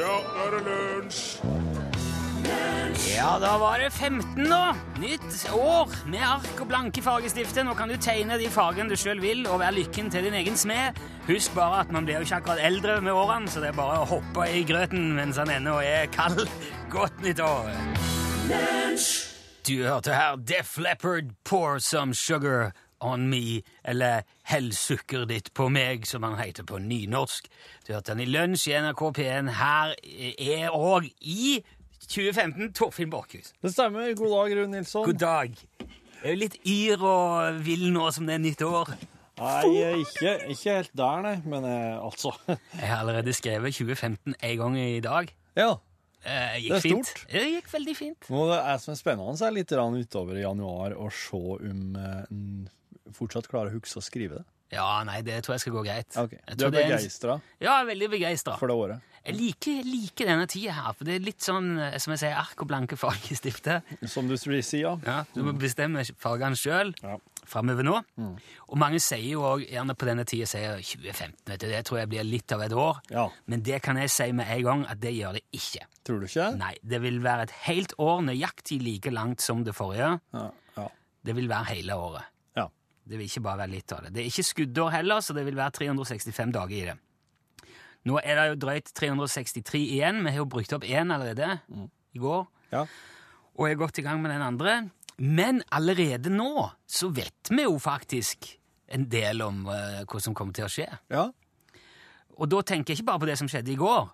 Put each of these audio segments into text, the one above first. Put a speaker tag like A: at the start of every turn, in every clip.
A: Ja, nå er det lunsj!
B: Ja, da var det 15 nå. Nytt år med ark og blanke fargestifter. Nå kan du tegne de fargene du sjøl vil, og være lykken til din egen smed. Husk bare at man blir jo ikke akkurat eldre med årene, så det er bare å hoppe i grøten mens han ennå er kald. Godt nytt år! Du hørte her Def Leppard Pour Some Sugar On Me, eller Hell sukker ditt på meg, som han heter på nynorsk. Du hørte han i lunsj i NRK P1. Her er òg i 2015 Torfinn Borchhus.
C: Det stemmer. God dag, Rune Nilsson.
B: God dag. Jeg er jo litt yr og vill nå som det er nytt år.
C: Nei, jeg er ikke, ikke helt der, nei. Men eh, altså.
B: Jeg har allerede skrevet 2015 en gang i dag.
C: Ja.
B: Eh, gikk
C: Det er
B: fint.
C: stort.
B: Det gikk veldig fint.
C: Nå det er som er spennende, så er litt rann utover i januar å se om eh, en fortsatt klarer å huske å skrive det.
B: Ja, nei, det tror jeg skal gå greit.
C: Ok.
B: Jeg
C: Du
B: tror
C: er
B: det en-
C: begeistra
B: Ja, jeg er veldig begeistra.
C: for det året.
B: Jeg liker, liker denne tida her, for det er litt sånn eh, som jeg sier, ark og blanke farger i stiftet.
C: Som du vil si, ja.
B: Ja, du må bestemme fargene sjøl
C: Ja. Mm.
B: framover nå. Og mange sier jo òg, gjerne på denne tida, sier 2015. Vet du, det tror jeg blir litt av et år.
C: Ja.
B: Men det kan jeg si med en gang at det gjør det ikke.
C: Tror du ikke?
B: Nei, det vil være et helt år nøyaktig like langt som det forrige.
C: Ja. ja.
B: Det vil være hele året.
C: ja.
B: Det vil ikke bare være litt av det. Det er ikke skuddår heller, så det vil være 365 dager i det. Nå er det jo drøyt 363 igjen. Vi har jo brukt opp én allerede i går,
C: Ja.
B: og er godt i gang med den andre. Men allerede nå så vet vi jo faktisk en del om eh, hva som kommer til å skje.
C: ja.
B: Og da tenker jeg ikke bare på det som skjedde i går.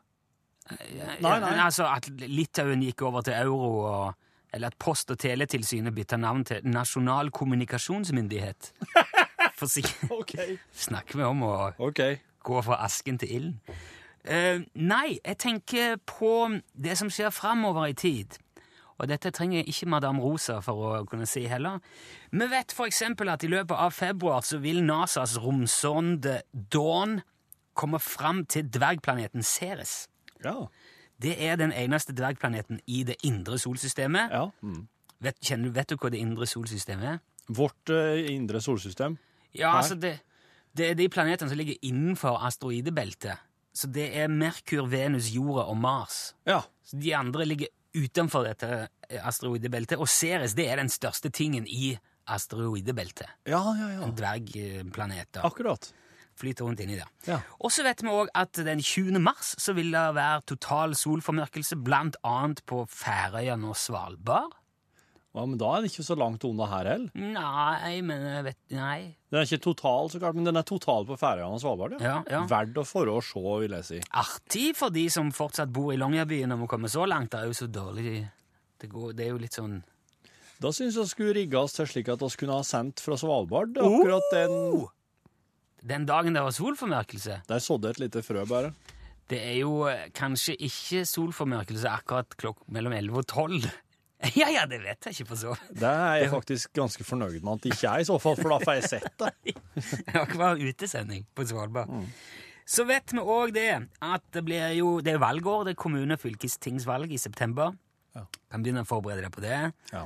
B: Eh,
C: Nei, nei.
B: Altså At Litauen gikk over til euro, og, eller at Post- og teletilsynet bytta navn til Nasjonal kommunikasjonsmyndighet. For sikk-
C: OK.
B: snakker vi om å
C: OK.
B: gå fra asken til ilden. Eh, nei, jeg tenker på det som skjer framover i tid. Og dette trenger ikke Madame Rosa for å kunne si heller. Vi vet f.eks. at i løpet av februar så vil NASAs romsonde Dawn komme fram til dvergplaneten Ceres.
C: Ja.
B: Det er den eneste dvergplaneten i det indre solsystemet.
C: ja. Mm.
B: Vet, kjenner, du- vet du hva det indre solsystemet er?
C: Vårt eh, indre solsystem.
B: Ja,
C: Nei.
B: altså det, det er de planetene som ligger innenfor asteroidebeltet. Så det er Merkur, Venus, Jorda og Mars.
C: Ja.
B: Så de andre ligger utenfor dette eh, asteroidebeltet. Og Ceres det er den største tingen i asteroidebeltet.
C: Ja, ja, ja.
B: Dvergplaneter
C: Akkurat.
B: flyter rundt inni der.
C: Ja.
B: Og så vet vi òg at den 20. mars så vil det være total solformørkelse, blant annet på Færøyene og Svalbard.
C: ja. Men da er det ikke så langt unna her heller.
B: Nei, men jeg vet Nei.
C: Den er ikke total, så klart, men den er total på Færøyene og Svalbard.
B: Ja, ja.
C: Verdt å for å se, vil jeg si.
B: artig for de som fortsatt bor i Longyearbyen og må komme så langt. Det er jo så dårlig Det, går, det er jo litt sånn
C: Da syns jeg vi skulle rigge oss til slik at vi kunne ha sendt fra Svalbard
B: Oh!
C: akkurat den
B: Den dagen det var solformørkelse
C: Der sådde et lite frø, bare.
B: Det er jo eh, kanskje ikke solformørkelse akkurat klokk mellom 11 og 12. Ja, ja, det vet jeg ikke for så vidt.
C: Det er jeg faktisk ganske fornøyd med at det ikke er, i så fall, for da får jeg sett det.
B: Det har ikke vært utesending på Svalbard. Så vet vi òg det at det blir jo Det er valgår. Det er kommune- og fylkestingsvalg i september.
C: Ja.
B: Kan begynne å forberede deg på det.
C: Ja.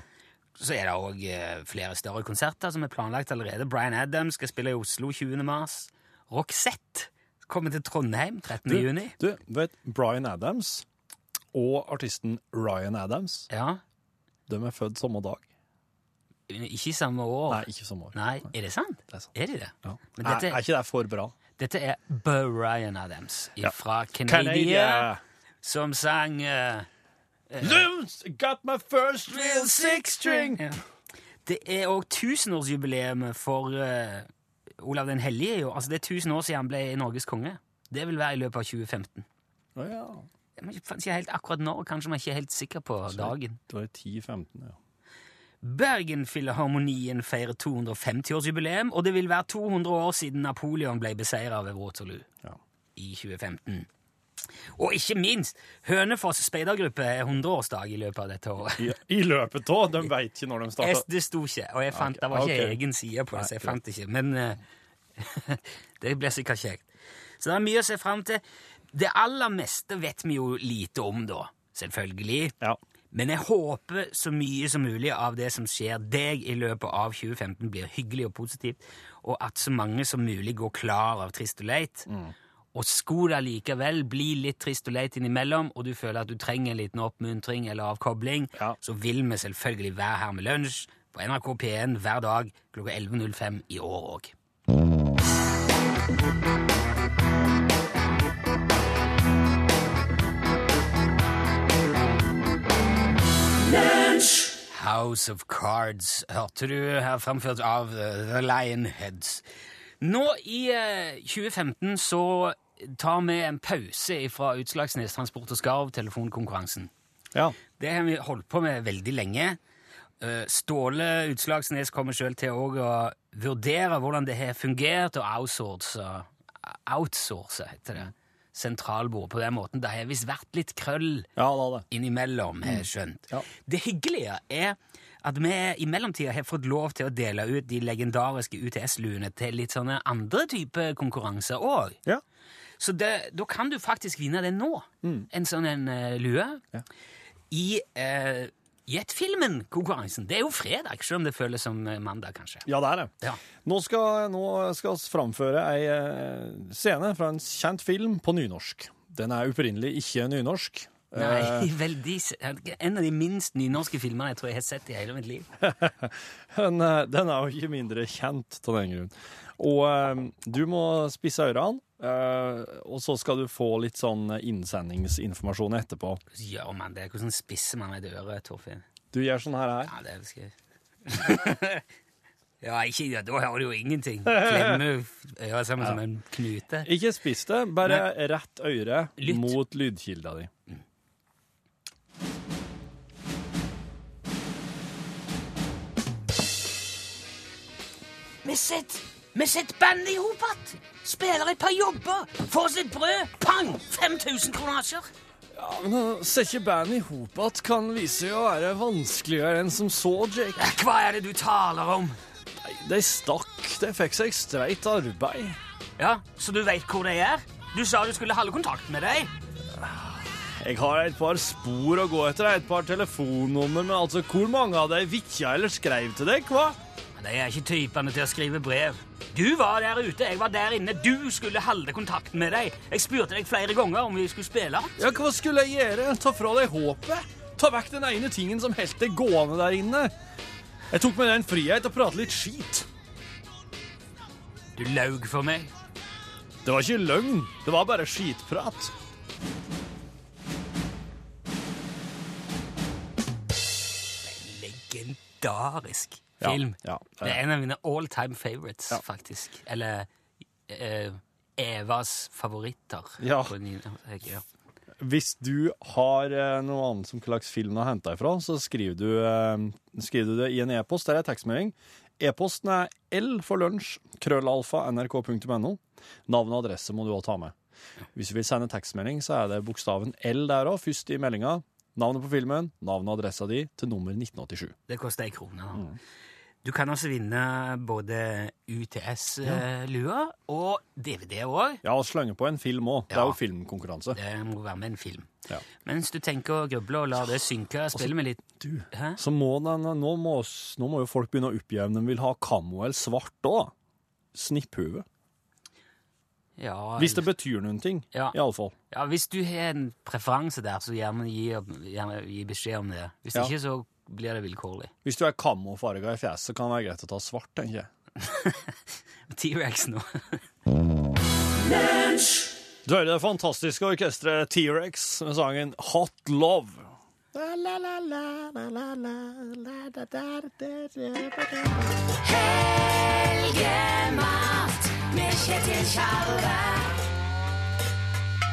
B: Så er det òg eh, flere større konserter som er planlagt allerede. Bryan Adams skal spille i Oslo 20. mars. Roxette kommer til Trondheim 13. juni.
C: Du, vet Bryan Adams og artisten Ryan Adams
B: Ja,
C: de er født samme dag.
B: Ikke i samme år.
C: Nei, ikke samme år.
B: Nei, er det sant?
C: Det er sant.
B: Er de det?
C: Ja.
B: Men
C: Er,
B: dette-
C: er ikke det for bra?
B: Dette er Bryan Adams fra Canada,
C: eh,
B: som sang eh,
C: Loons got my first real six string!
B: Ja. Det er òg tusenårsjubileet for eh, Olav den hellige. Jo. Altså, det er tusen år siden han ble Norges konge. Det vil være i løpet av 2015.
C: Å ja.
B: Jeg vet ikke- ikke helt akkurat når, kanskje man er ikke er helt sikker på dagen.
C: Det var i 10-15, ja.
B: Bergenfilharmonien feirer 250-årsjubileum, og det vil være 200 år siden Napoleon ble beseiret ved Waterloo
C: ja.
B: i 2015. Og ikke minst, Hønefoss speidergruppe er 100-årsdag i løpet av dette året.
C: I, I løpet av, de veit ikke når de
B: Jeg,
C: starta.
B: det sto ikke, og jeg fant,
C: Ok,
B: det var ikke
C: ok.
B: egen side på det, så jeg fant det ikke. Men eh, det blir sikkert kjekt. Så det er mye å se fram til. Det aller meste vet vi jo lite om, da. Selvfølgelig.
C: Ja.
B: Men jeg håper så mye som mulig av det som skjer deg i løpet av 2015, blir hyggelig og positivt, og at så mange som mulig går klar av trist og leit, Og skulle det likevel bli litt trist og leit innimellom, og du føler at du trenger en liten oppmuntring eller avkobling,
C: Ja.
B: så vil vi selvfølgelig være her med lunsj på NRK P1 hver dag klokka 11.05 i år òg. House of Cards hørte du her fremført av eh, The Lionheads. Nå i eh, 2015 så tar vi en pause fra Utslagsnes Transport og Skarv telefonkonkurransen.
C: Ja.
B: Det har vi holdt på med veldig lenge. Eh, Ståle Utslagsnes kommer sjøl til òg å vurdere hvordan det har fungert, og outsource, outsource heter det, sentralbord på den måten. Det har visst vært litt krøll
C: Ja, da det.
B: innimellom, har jeg skjønt.
C: Mm. Ja.
B: Det hyggelige er at vi i mellomtida har fått lov til å dele ut de legendariske UTS-luene til litt sånne andre typer konkurranser òg.
C: Ja.
B: Så det, da kan du faktisk vinne det nå. En sånn en eh, lue.
C: Mm. Ja.
B: I uh, Jet-filmen-konkurransen. Det er jo fredag, selv om det føles som eh, mandag, kanskje.
C: Ja, det er det.
B: Ja.
C: Nå skal, nå skal vi framføre ei eh, scene fra en kjent film på nynorsk. Den er opprinnelig ikke nynorsk.
B: Nei, veldig s- En av de minst nynorske filmene jeg tror jeg har sett i hele mitt liv.
C: Men eh, den er jo ikke mindre kjent av den grunn. Og eh, du må spisse ørene, eh, og så skal du få litt sånn innsendingsinformasjon etterpå.
B: Hvordan gjør man det? Hvordan spisser man et øre, Torfinn?
C: Du gjør sånn her. her.
B: Ja, det skal jeg. ja, ikke, ja, da hører du jo ingenting. Klemme øret sammen som en knute.
C: Ikke spiss det, bare rett øre
B: Lytt.
C: mot lydkilda di.
B: Vi sitter, vi sitter bandet i hop igjen. Spiller et par jobber, får oss et brød. Pang! 5000 kronasjer.
C: Ja, men å sette bandet i hop igjen kan vise seg å være vanskeligere enn som så, Jake.
B: Eh, Hva er det du taler om?
C: De stakk. De fikk seg streit arbeid.
B: Ja, Så du veit hvor de er? Du sa du skulle holde kontakt med dem.
C: Jeg har et par spor å gå etter, et par telefonnummer, men altså, hvor mange av de vitja eller skrev til deg, hva?
B: Men de er ikke typene til å skrive brev. Du var der ute, jeg var der inne. Du skulle holde kontakten med dem. Jeg spurte deg flere ganger om vi skulle spille.
C: Ja, hva skulle jeg gjøre? Ta fra deg håpet? Ta vekk den ene tingen som helt det gående der inne? Jeg tok meg den frihet å prate litt skit.
B: Du laug for meg.
C: Det var ikke løgn, det var bare skitprat.
B: legendarisk
C: Ja,
B: film.
C: ja, ja.
B: Det er en av mine all time favorites,
C: Ja.
B: faktisk. Eller eh, Evas favoritter.
C: Ja.
B: På ny- ok, ja.
C: Hvis du har eh, noe annet som slags film å hente ifra, så skriver du, eh, skriver du det i en e-post. Der er tekstmelding. E-posten er l for lunsj, krøllalfa, nrk.no. Navn og adresse må du òg ta med. Hvis du vil sende tekstmelding, så er det bokstaven L der òg, først i meldinga. Navnet på filmen, navnet og adressa di til nummer 1987.
B: Det koster ei krone. da. Du kan også vinne både UTS-lua og DVD òg.
C: Ja, og slenge på en film òg. Det
B: Ja.
C: er jo filmkonkurranse.
B: Det må være med en film.
C: Ja.
B: Mens du tenker å gruble og la det synke, spille med litt
C: Du,
B: Hæ?
C: så må den, nå, må, s- nå må jo folk begynne å oppjevne om de vil ha kammo eller svart òg. Snipphue.
B: Ja,
C: Hvis det betyr noen ting,
B: Ja.
C: i alle fall.
B: ja, hvis du har en preferanse der, så gjerne gi, gjerne gi beskjed om det. Hvis
C: Ja.
B: ikke, så blir det vilkårlig.
C: Hvis du er kamofarga i fjeset, kan det være greit å ta svart, tenker jeg.
B: T-rex nå.
C: Du hører det fantastiske orkesteret T-rex med sangen Hot Love.
D: Helgemat med Kjetil Tjalve.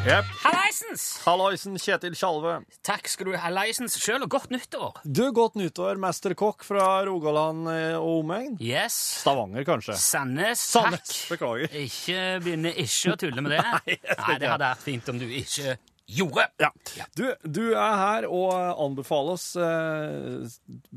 C: Jepp.
B: Hallaisens!
C: Halloisen Kjetil Tjalve.
B: Takk skal du ha, Leisens, sjøl, og godt nyttår!
C: Du, godt nyttår, mesterkokk fra Rogaland eh, og omegn.
B: Yes.
C: Stavanger, kanskje.
B: Sandnes,
C: Sandnes,
B: takk.
C: beklager.
B: Ikke begynne ikke å tulle med det. Nei,
C: jeg skal
B: det
C: ikke.
B: hadde vært fint om du ikke gjorde.
E: Ja. Du, du er her og anbefaler oss eh,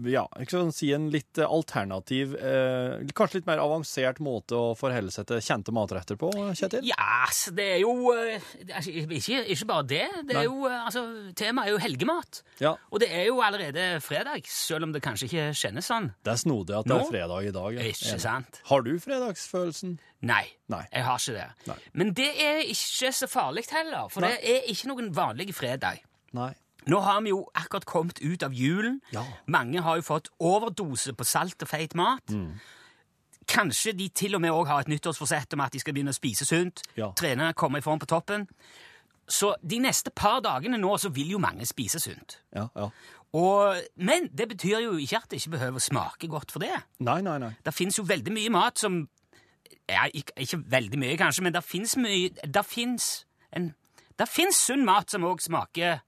E: ja, ikke sånn, si en litt eh, alternativ, eh, kanskje litt mer avansert måte å forholde seg til kjente matretter på, Kjetil?
B: Ja, så det er jo eh, det er ikke, ikke bare det. det er
E: Nei.
B: jo, eh, altså, Temaet er jo helgemat.
E: Ja.
B: Og det er jo allerede fredag, selv om det kanskje ikke kjennes sånn.
E: Det er snodig at det
B: Nå?
E: er fredag i dag. ja.
B: Ikke sant?
E: Har du fredagsfølelsen?
B: Nei,
E: Nei.
B: jeg har ikke det.
E: Nei.
B: Men det er ikke så farlig heller, for
E: Nei.
B: det er ikke noen vanlig fredag.
E: Nei.
B: Nå har vi jo akkurat kommet ut av julen.
E: Ja.
B: Mange har jo fått overdose på salt og feit mat.
E: Mm.
B: Kanskje de til og med også har et nyttårsforsett om at de skal begynne å spise sunt,
E: Ja.
B: trene, komme i form på toppen. Så de neste par dagene nå så vil jo mange spise sunt.
E: Ja, ja.
B: Og, men det betyr jo ikke at det ikke behøver å smake godt for det.
E: Nei, nei, nei.
B: Det fins jo veldig mye mat som ja, ikke, ikke veldig mye, kanskje, men det fins mye Det fins en Det fins sunn mat som òg smaker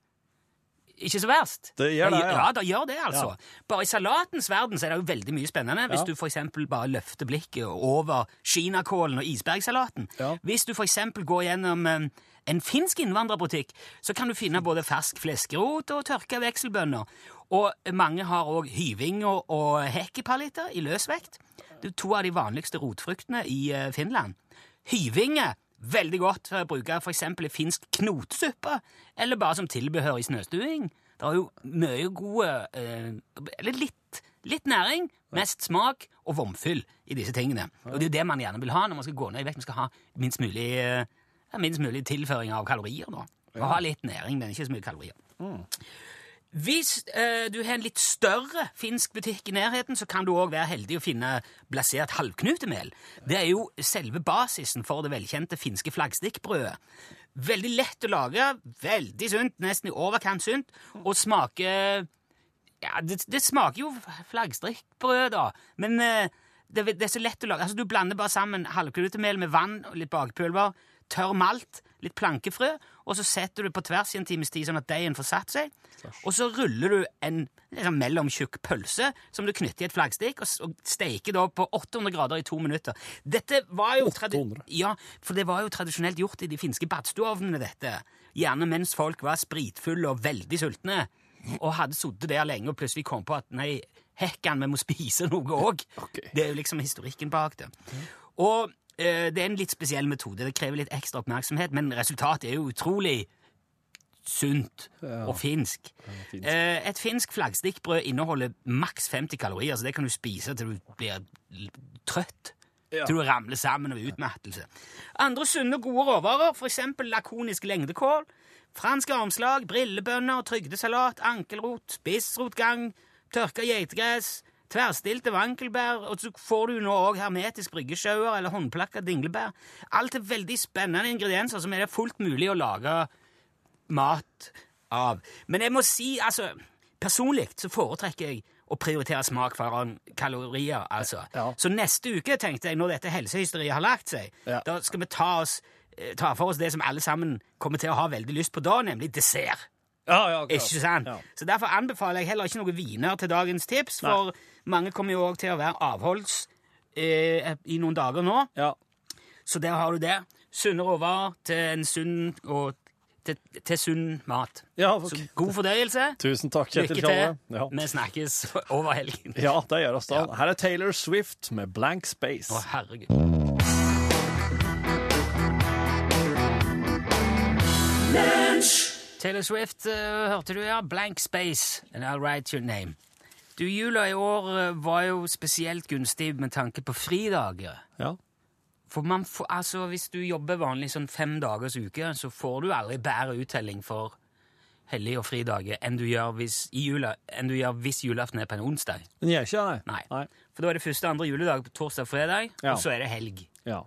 B: ikke så verst.
E: Det gjør det,
B: ja.
E: ja.
B: Ja, det gjør det, altså. Bare i salatens verden så er det jo veldig mye spennende hvis
E: Ja.
B: du for eksempel bare løfter blikket over kinakålen og isbergsalaten.
E: Ja.
B: Hvis du for eksempel går gjennom eh, en finsk innvandrerbutikk, så kan du finne både fersk fleskerot og tørka vekselbønner. Og mange har òg hyvinger og hekkepallitter i løsvekt. Det er to av de vanligste rotfruktene i eh, Finland. Hyvinge veldig godt å bruke for eksempel i finsk knotsuppe, eller bare som tilbehør i snøstuing. Det er jo mye gode eh, Eller litt, litt næring, mest smak og vomfyll i disse tingene. Og det er jo det man gjerne vil ha når man skal gå ned i vekt. Man skal ha minst mulig, eh, ja, minst mulig tilføring av kalorier. Da. Og ha litt næring, men ikke så mye kalorier. Hvis eh, du har en litt større finsk butikk i nærheten, så kan du òg være heldig å finne blasert halvknutemel. Det er jo selve basisen for det velkjente finske flaggstikkbrødet. Veldig lett å lage, veldig sunt, nesten i overkant sunt, og smaker ja, det, det smaker jo flaggstrikkbrød, da. Men eh, det, det er så lett å lage. Altså, Du blander bare sammen halvklutemel med vann og litt bakpulver, tørr malt, litt plankefrø, og så setter du det på tvers i en times tid, sånn at deigen får satt seg. Og så ruller du en liksom, mellomtjukk pølse som du knytter i et flaggstikk, og, s- og steiker da på 800 grader i to minutter. Dette var jo tradi-
E: 800?
B: Ja, for det var jo tradisjonelt gjort i de finske badstueovnene, dette. Gjerne mens folk var spritfulle og veldig sultne, og hadde sittet der lenge og plutselig kom på at nei, hekkan, vi må spise noe òg.
E: Ok.
B: Det er jo liksom historikken bak det. Og eh, det er en litt spesiell metode, det krever litt ekstra oppmerksomhet, men resultatet er jo utrolig sunt og finsk.
E: finsk.
B: Eh, et finsk flaggstikkbrød inneholder maks 50 kalorier, så det kan du spise til du blir l- trøtt.
E: Ja.
B: Til du ramler sammen av utmattelse. Andre sunne og gode råvarer, f.eks. lakonisk lengdekål, franske armslag, brillebønner, trygdesalat, ankelrot, spissrotgang, tørka geitegress, tverrstilte vankelbær, og så får du nå òg hermetisk bryggesjauer eller håndplakka dinglebær. Alt er veldig spennende ingredienser som er det fullt mulig å lage mat av. Men jeg må si, altså Personlig så foretrekker jeg å prioritere smak foran kalorier, altså.
E: Ja.
B: Så neste uke, tenkte jeg, når dette helsehysteriet har lagt seg,
E: Ja.
B: da skal vi ta, oss, eh, ta for oss det som alle sammen kommer til å ha veldig lyst på da, nemlig dessert.
E: Ja, ja, akkurat.
B: Ikke sant?
E: Ja.
B: Så derfor anbefaler jeg heller ikke noen viner til dagens tips, for mange kommer jo òg til å være avholds eh, i noen dager nå.
E: Ja.
B: Så der har du det. Sunne råvarer til en sunn og til, til sunn mat.
E: Ja, ok.
B: Så god fordøyelse.
E: Tusen takk, Kjetil
B: Lykke til.
E: Tjalve. Ja.
B: Vi snakkes over helgen.
E: Ja, det gjør oss da. Her er Taylor Swift med Blank Space.
B: Å, herregud. Taylor Swift eh, hørte du, ja. Blank Space, and I'll write your name. Du, Jula i år eh, var jo spesielt gunstig med tanke på fridager.
E: Ja.
B: For man får, altså, hvis du jobber vanlig sånn fem dagers uke, så får du aldri bedre uttelling for hellig og fridager enn du gjør hvis, i jula, enn du gjør hvis julaften er på en onsdag.
E: Den gjør ikke det,
B: Nei.
E: nei.
B: For da er det første andre juledag på torsdag og fredag,
E: Ja.
B: og så er det helg.
E: Ja.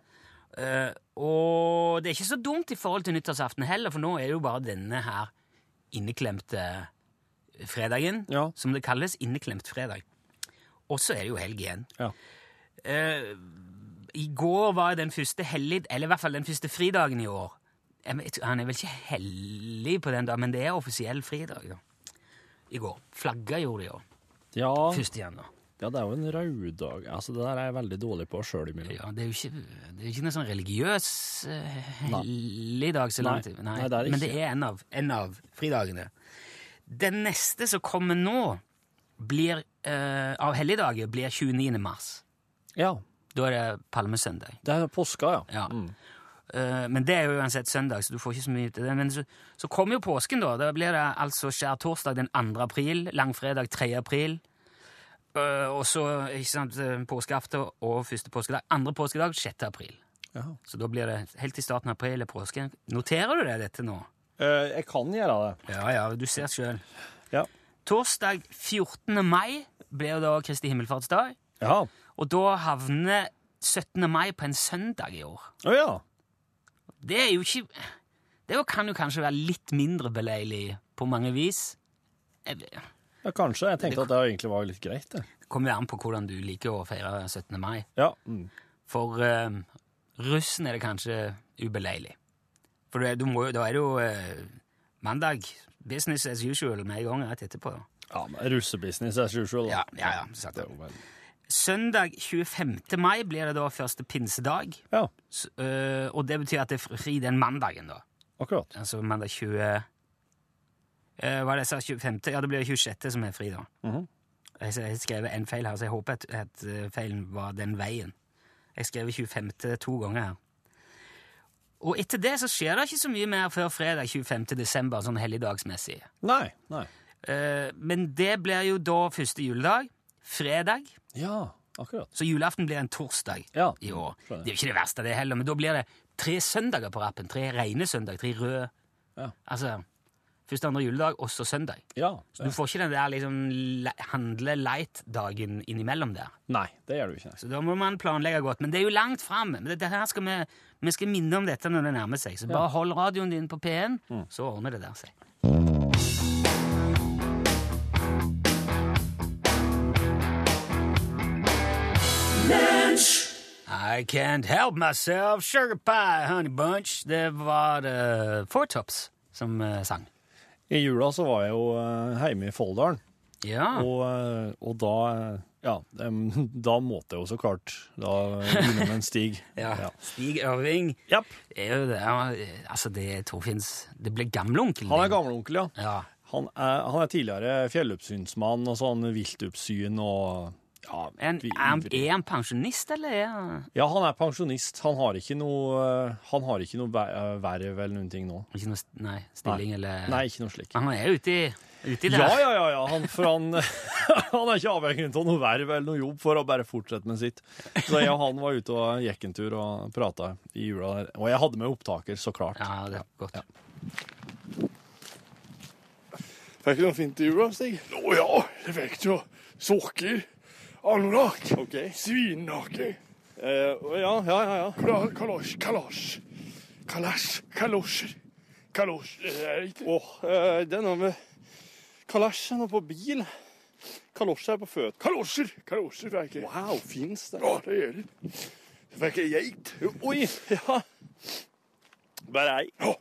B: Eh, og det er ikke så dumt i forhold til nyttårsaften heller, for nå er det jo bare denne her inneklemte fredagen,
E: Ja.
B: som det kalles, inneklemt fredag. Og så er det jo helg igjen.
E: Ja.
B: Eh, I går var den første hellig, eller i hvert fall den første fridagen i år. Eh, Jeg vet- Han er vel ikke hellig på den dagen, men det er offisiell fridag. Ja. I går. Flagga gjorde de jo.
E: ja.
B: Første januar.
C: Ja, det er jo en røddag. Altså, det der er jeg veldig dårlig på sjøl imellom.
B: Ja, det er jo ikke, det er jo ikke noe sånn religiøs uh,
C: Nei.
B: helligdag så langt.
C: Nei, nei, det er det
B: Men det
C: ikke.
B: er en av, en av fridagene. Den neste som kommer nå, blir, eh, av helligdager, blir 29. mars.
C: Ja.
B: Da er det palmesøndag.
C: Det er påska, ja.
B: Ja. Eh, men det er jo uansett søndag, så du får ikke så mye ut av det. Men så, så kommer jo påsken, da. Da blir det altså skjærtorsdag den 2. april, langfredag 3. april. eh, og så ikke sant, eh, påskeaften og første påskedag. Andre påskedag 6. april.
C: ja.
B: Så da blir det helt til starten av april eller påske. Noterer du deg dette nå?
C: Eh, jeg kan gjøre det.
B: Ja, ja, du ser sjøl.
C: Ja.
B: Torsdag 14. mai blir jo da Kristi himmelfartsdag.
C: Ja.
B: Og da havner 17. mai på en søndag i år.
C: Å ja.
B: Det er jo ikke Det jo- kan jo kanskje være litt mindre beleilig på mange vis. Jeg- Det
C: ja. Kanskje. Jeg tenkte at det egentlig var litt greit, det.
B: kommer jo an på hvordan du liker å feire 17. mai.
C: Ja. Mm.
B: For eh, russen er det kanskje ubeleilig. For det, du må, jo- da er det jo eh, mandag. Business as usual med en gang rett etterpå.
C: ja men russebusiness as usual. da.
B: Ja, ja, ja, sant
C: Det
B: det.
C: er jo veldig-
B: Søndag 25. mai blir det da første pinsedag.
C: Ja,
B: S- eh, og det betyr at det er fri den mandagen, da.
C: akkurat.
B: Altså mandag 20 eh, Hva er det jeg sa? 25.? Ja, det blir 26. som er fri, da.
C: Mhm.
B: Jeg s- Jeg skrev en feil her, så jeg håper at, at eh, feilen var den veien. Jeg skrev 25. to ganger her. Og etter det så skjer det ikke så mye mer før fredag 25. desember, sånn helligdagsmessig.
C: Nei. Nei.
B: Eh, men det blir jo da første juledag. Fredag.
C: Ja, akkurat.
B: Så julaften blir en torsdag
C: Sånn, Ja.
B: i år. Det
C: Skjønner.
B: er jo ikke det verste, det heller, men da blir det tre søndager på rappen. Tre rene søndag, tre røde
C: Ja.
B: Altså første, andre juledag, og så søndag.
C: Ja.
B: Så du får ikke den der liksom le- handle-light-dagen innimellom der.
C: Nei, det gjør du ikke. nei.
B: Så da må man planlegge godt. Men det er jo langt fram. Men det, det her skal vi, vi skal minne om dette når det nærmer seg. Så bare hold radioen din på P1,
C: Mm.
B: så ordner det der seg. I can't help myself, sugar pie, honey bunch. Det var det Four Tops som eh, sang.
C: I jula så var jeg jo eh, hjemme i Folldalen,
B: Ja.
C: og, eh, og da eh, Ja, em, da måtte jeg jo så klart da innom en stig.
B: ja. Stig Ørving.
C: Japp.
B: Det er jo det. han- Altså, det er Torfinns Det ble gamleonkelen
C: Han er
B: din.
C: gamleonkel, ja.
B: Ja.
C: Han er, han er tidligere fjelloppsynsmann og sånn viltoppsyn og ja,
B: En,
C: vi-
B: er, han, er han pensjonist, eller er han
C: ja, han er pensjonist. Han har ikke noe eh, Han har ikke noe ver- eh, verv eller noen ting nå.
B: Ikke noe st- nei, stilling, eller
C: Nei, ikke noe slik.
B: Han er ute i, ute i det.
C: Ja, ja, ja, ja. Han, for han, han er ikke avhengig av noe verv eller noe jobb for å bare fortsette med sitt. Så jeg og han var ute og gikk en tur og prata i jula der. Og jeg hadde med opptaker, så klart.
B: Ja, det er godt.
A: Fikk du noe fint i jula, Stig? Å ja, jeg fikk jo sokker, anorakk, okay. svinnakke, Eh,
C: ja, ja, ja, ja.
A: kla- kalasj, kalasj, kalasj, kalosjer, kalosj, det er ikke
C: Åh, eh, det er noe med Kalesj er noe på bil. Kalosje er på føt.
A: kalosjer, kalosjer fikk jeg.
C: Wow, fins det?
A: Ja, det gjør det. Så fikk jeg geit.
C: Oi, ja. Bare ei.
A: Ja,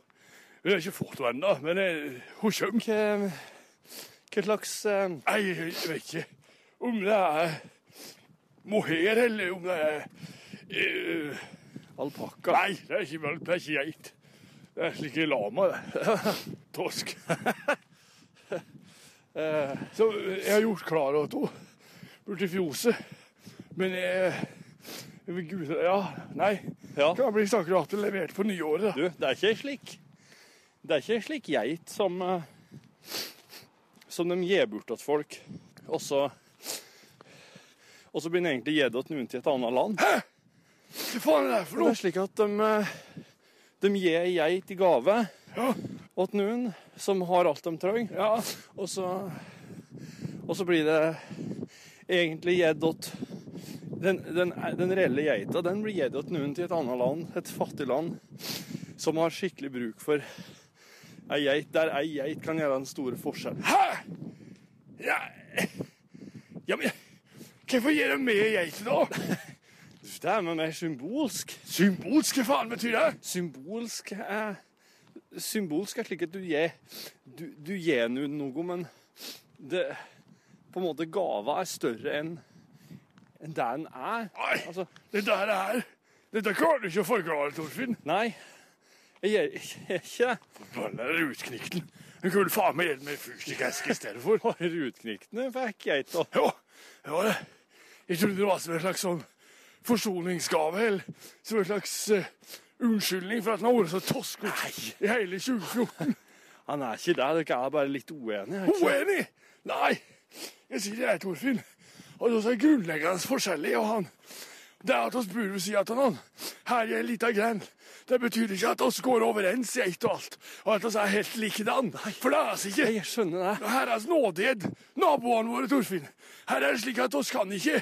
A: hun har ikke fått henne ennå, men eh, hun kommer.
C: Hva, eh, hva slags eh,
A: Nei, jeg vet ikke om det er mohair eller om det er eh,
C: alpakka?
A: Nei, det er ikke valp, det er ikke geit. Det er slike lama, det. Tosk.
C: Eh,
A: Så jeg har gjort klar at hun burde fjose. Men jeg, jeg Gud, ja, nei.
C: ja.
A: Kan bli akkurat levert på nyåret.
C: Du, det er ikke slik Det er ikke slik geit som eh, Som de gir bort til folk Og så Og så begynner egentlig gjedde til noen til et annet land Det
A: da. Hva faen er det for
C: er
A: noe?
C: slik at de eh, De gir geit i gave
A: Ja.
C: Åt noen som har alt de trenger
A: Ja,
C: Og så Og så blir det Egentlig gjedd åt den, den, den reelle geita den blir gitt til noen til et annet land, et fattig land, som har skikkelig bruk for ei geit, der ei geit kan gjøre den store forskjellen.
A: Hæ? Ja, ja men Hvorfor gir de med geit da?
C: Det er med mer symbolsk.
A: Symbolsk, hva faen betyr det?
C: Symbolsk er Symbolsk er slik at du gir Du, du gir noen noe, men det På en måte, gava er større enn enn det den er.
A: Nei,
C: Altså,
A: det der er Dette klarer du ikke å forklare, Torfinn.
C: nei, jeg gjør jeg gjør ikke det.
A: Forbanna rutknikten. Hun kunne faen meg gitt meg fyrstikkeske i stedet for.
C: Bare rutkniktene fikk jeg ikke.
A: Jo, det var det. Jeg trodde det var som en slags sånn forsoningsgave, eller som en slags eh, unnskyldning for at han har vært så toskete i hele 2014.
C: Han er ikke det, dere er bare litt uenige. ikke sant?
A: Uenig! Nei! Jeg sier det er Torfinn. Og det er grunnleggende forskjellig av han. Det er at oss bor ved sida av han. Her er ei lita gren. Det betyr ikke at oss går overens i ett og alt, og at oss er helt likedan. For det er oss ikke.
C: Jeg skjønner det.
A: Og Her er nådighet, naboene våre, Torfinn. Her er det slik at oss kan ikke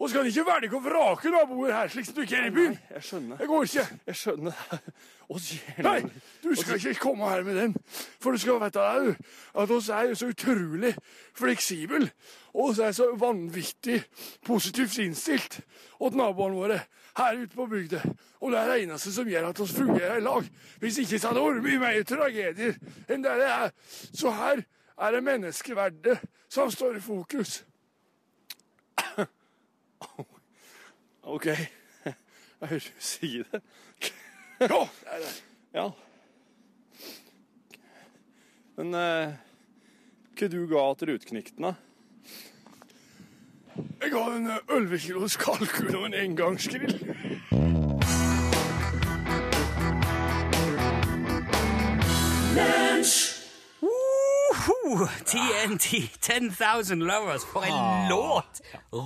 A: oss kan ikke velge og vrake naboer her, slik som du ikke er i byen.
C: Jeg skjønner.
A: Det går ikke.
C: Jeg skjønner det. Oss gjør
A: Nei,
C: det.
A: du skal ikke komme her med den. For du skal vite au, at oss er jo så utrolig fleksibel, og oss er så vanvittig positivt innstilt åt naboene våre her ute på bygda. Og det er det eneste som gjør at oss fungerer i lag. Hvis ikke så hadde det vært mye mer tragedier enn det det er. Så her er det menneskeverdet som står i fokus.
C: OK. Jeg hører du sier det.
A: Ja, det er det.
C: Ja. Men eh, hva du ga til rutkniktene?
A: Jeg har en eh, 11 kilos kalkun og en engangsgrill.
B: Uhu, TNT, 10,000 Lovers. For en
C: Ah.
B: låt!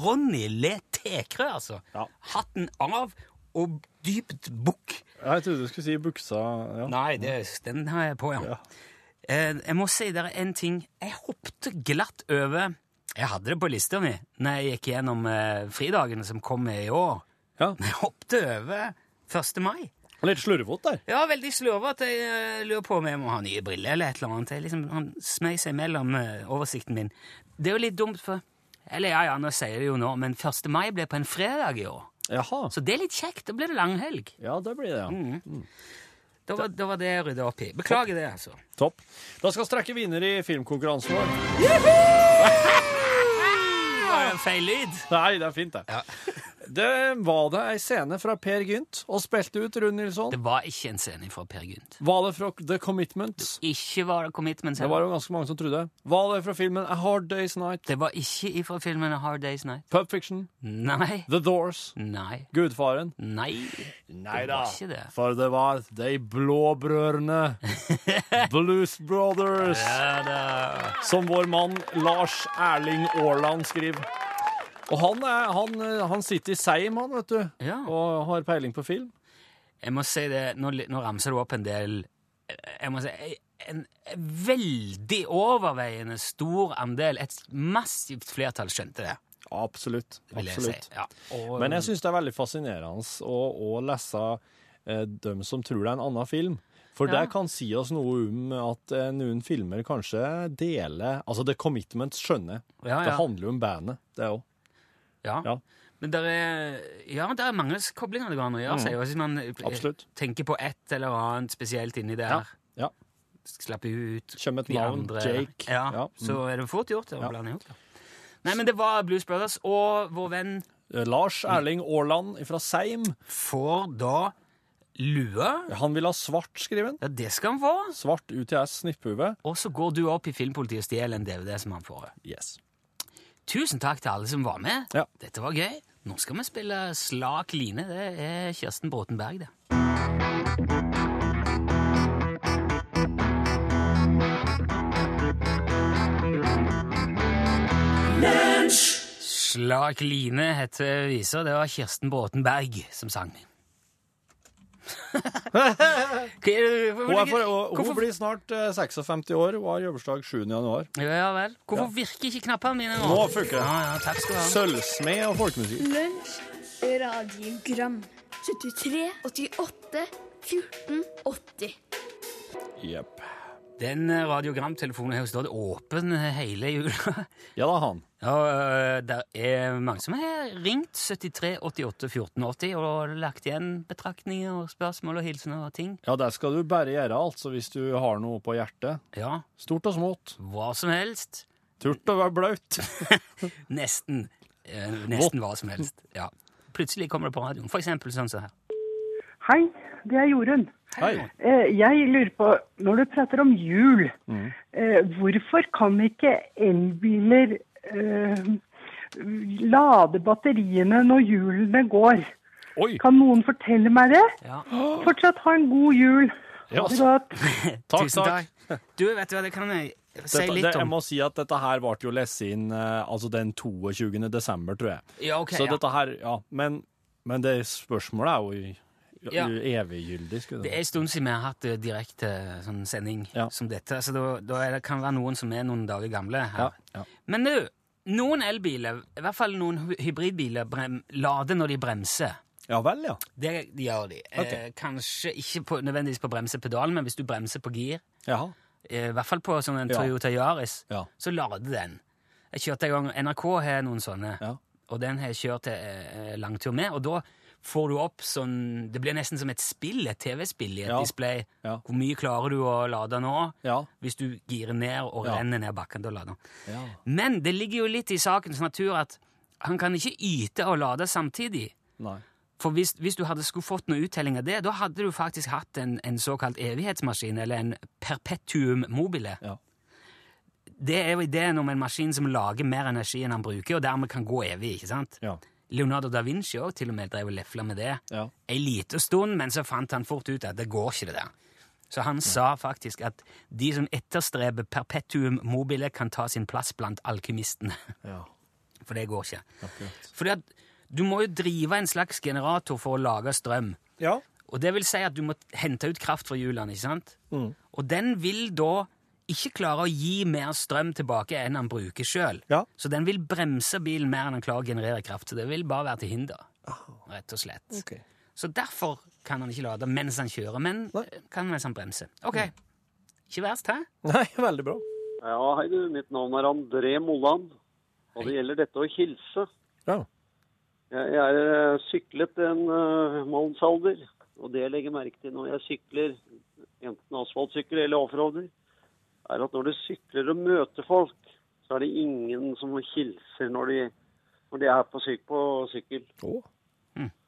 B: Ronny Le Tekrø, altså.
C: Ja.
B: Hatten av og dypt bukk.
C: Jeg trodde du skulle si buksa. Ja.
B: Nei, det, den har jeg på, ja.
C: Ja.
B: Eh, jeg må si dere en ting. Jeg hoppet glatt over Jeg hadde det på lista mi når jeg gikk gjennom eh, fridagene som kom i år.
C: Ja.
B: Men jeg hoppet over 1. mai.
C: Litt slurvete der.
B: Ja, veldig slurvete. Jeg eh, lurer på om jeg må ha nye briller eller et eller annet. Jeg liksom, han smeg seg mellom eh, oversikten min. Det er jo litt dumt, for Eller ja, ja, nå sier jeg det jo nå, men 1. mai ble på en fredag i år.
C: Jaha.
B: Så det er litt kjekt. Da blir det langhelg.
C: Ja, det blir det, ja.
B: Da var, da var det jeg rydda opp i. Beklager det, altså.
C: Topp. Da skal vi strekke vinner i filmkonkurransen vår.
B: Var det feil lyd?
C: Nei, det er fint, det. det var det ei scene fra Per Gynt og spilte ut Rune Nilsson.
B: Det var ikke en scene fra Per Gynt.
C: Var det fra The Commitments?
B: Ikke var det Commitment
C: Det var jo ganske mange som trodde. Var det fra filmen A Hard Day's Night?
B: det var ikke fra filmen A Hard Day's Night.
C: Pub Fiction?
B: Nei.
C: The Doors?
B: Nei.
C: Gudfaren?
B: Nei.
C: Nei
B: da. Det var ikke det.
C: For det var de blåbrødrene, Blues Brothers,
B: Ja da.
C: som vår mann Lars Erling Aarland skriver. Og han, er, han, eh, han sitter i Seim, han, vet du,
B: Ja.
C: og har peiling på film.
B: Jeg må si det, nå, li- nå ramser du opp en del eh, Jeg må si en en veldig overveiende stor andel, et massivt flertall, skjønte det.
C: Absolutt.
B: Vil jeg
C: absolutt.
B: si. Ja. Og,
C: Men jeg syns det er veldig fascinerende å, å lese eh, dem som tror det er en annen film. For
B: Ja.
C: det kan si oss noe om at eh, noen filmer kanskje deler Altså, The Commitments skjønner.
B: Ja,
C: Det
B: ja.
C: handler jo om bandet, det òg.
B: Ja.
C: Ja.
B: Men det er, ja, der er mange koblinger det går an å gjøre seg. og Hvis man eh,
C: Mm. Absolutt.
B: tenker på et eller annet spesielt inni der,
C: Ja.
B: slapp ut
C: Kjem et
B: de
C: navn,
B: andre,
C: Jake.
B: Ja,
C: Ja, mm.
B: Så er det fort gjort å blande ihop. det. Nei, men det var Blues Brothers, og vår venn
C: Eh, Lars
B: Mm.
C: Erling Aarland fra Seim.
B: får da lue.
C: Han vil ha svart, skriver han.
B: Ja, det skal han få.
C: Svart UTS snipphue.
B: Og så går du opp i Filmpolitiet og stjeler en DVD som han får.
C: Yes.
B: Tusen takk til alle som var med.
C: Ja.
B: Dette var gøy. Nå skal vi spille Slak line. Det er Kirsten Bråtenberg, det. Slak line heter visa. Det var Kirsten Bråtenberg som sang. Hva er det- hvorfor-
C: Hun, er for, og, hun
B: hvorfor-
C: blir snart eh, 56 år. Hun har jubileumsdag 7. januar.
B: Ja vel. Hvorfor virker ikke knappene mine nå?
C: Nå funker det.
B: Ja, ja, takk skal du ha.
C: Sølvsmed og folkemusikk.
F: Lunsj, radiogram 73, 88, 14, 80
C: Jepp.
B: Den eh, radiogramtelefonen har jo stått åpen eh, hele jula.
C: Ja da, han.
B: Og eh, det er mange som har ringt 73 88 14 80 og lagt igjen betraktninger og spørsmål og hilsener og ting.
C: Ja, det skal du bare gjøre, altså, hvis du har noe på hjertet.
B: Ja,
C: Stort og smått.
B: hva som helst.
C: Turt å være blaut.
B: Nesten. Eh, Nesten hva som helst. Ja. Plutselig kommer det på radioen. For eksempel sånn som her.
G: Hei, det er Jorunn.
E: Hei.
G: Eh, Jeg lurer på, når du prater om jul,
E: Mm.
G: eh, hvorfor kan ikke elbiler eh, lade batteriene når hjulene går?
E: Oi.
G: Kan noen fortelle meg det?
B: Ja.
G: Fortsatt ha en god jul.
E: Ja, altså.
G: Ha det godt.
E: Takk,
B: Tusen
E: takk.
B: takk. Du, vet du hva, det kan jeg si
E: Dette, det,
B: litt
E: jeg
B: om.
E: må si at dette her ble jo lest inn eh, altså den 22. desember, tror jeg.
B: Ja, ok,
E: Så
B: ja.
E: dette her, ja. Men, men det spørsmålet er jo i-
B: Ja.
E: i- eviggyldig. skulle
B: Det
E: jeg
B: er en stund siden vi har hatt eh, direkte eh, sånn sending
E: Ja.
B: som dette, så da, da er det, kan det være noen som er noen dager gamle
E: si. ja.
B: her.
E: Ja.
B: Men du, noen elbiler, i hvert fall noen hy- hybridbiler, brem, lader når de bremser.
E: ja vel, ja.
B: Det gjør de. Eh,
E: Ok.
B: kanskje ikke på, nødvendigvis på bremsepedalen, men hvis du bremser på gir,
E: Jaha.
B: eh, i hvert fall på sånn en
E: Ja.
B: Toyota Yaris,
E: Ja.
B: så lader den. Jeg kjørte en gang, NRK har noen sånne,
E: Ja.
B: og den har jeg kjørt eh, eh, langtur med, og da får du opp sånn, det blir nesten som et spill, et TV-spill i et
E: Ja.
B: display.
E: Ja.
B: Hvor mye klarer du å lade nå?
E: Ja.
B: Hvis du girer ned og
E: Ja.
B: renner ned bakken, da lader den.
E: Ja.
B: Men det ligger jo litt i sakens natur at han kan ikke yte og lade samtidig.
E: Nei.
B: For hvis, hvis du hadde skulle fått noe uttelling av det, da hadde du faktisk hatt en, en såkalt evighetsmaskin, eller en perpetuum mobile.
E: Ja.
B: Det er jo ideen om en maskin som lager mer energi enn han bruker, og dermed kan gå evig. ikke sant?
E: Ja.
B: Leonardo da Vinci også til og med drev og lefla med det
E: Ja.
B: ei lita stund, men så fant han fort ut at det går ikke, det der. Så han sa faktisk at de som etterstreber perpetuum mobile, kan ta sin plass blant alkymistene.
E: Ja.
B: For det går ikke.
E: Akkurat.
B: Fordi at du må jo drive en slags generator for å lage strøm.
E: Ja.
B: Og det vil si at du må hente ut kraft fra hjulene, ikke sant?
E: Mm.
B: Og den vil da ikke klare å gi mer strøm tilbake enn han bruker sjøl.
E: Ja.
B: Så den vil bremse bilen mer enn han klarer å generere kraft. Så det vil bare være til hinder, rett og slett.
E: Ah. Ok.
B: Så derfor kan han ikke lade mens han kjører, men
E: Nei. Mm.
B: kan mens han bremser. Ok, ikke verst, hæ?
E: Nei, veldig bra.
H: Ja, hei du. Mitt navn er André Molland. Og det gjelder dette å hilse.
E: Ja.
H: Jeg, jeg er eh, syklet en uh, mannsalder. Og det jeg legger merke til når jeg sykler, enten asfaltsykkel eller offroader, er at når du sykler og møter folk, så er det ingen som hilser når de, når de er på, syk, på sykkel.
E: Å.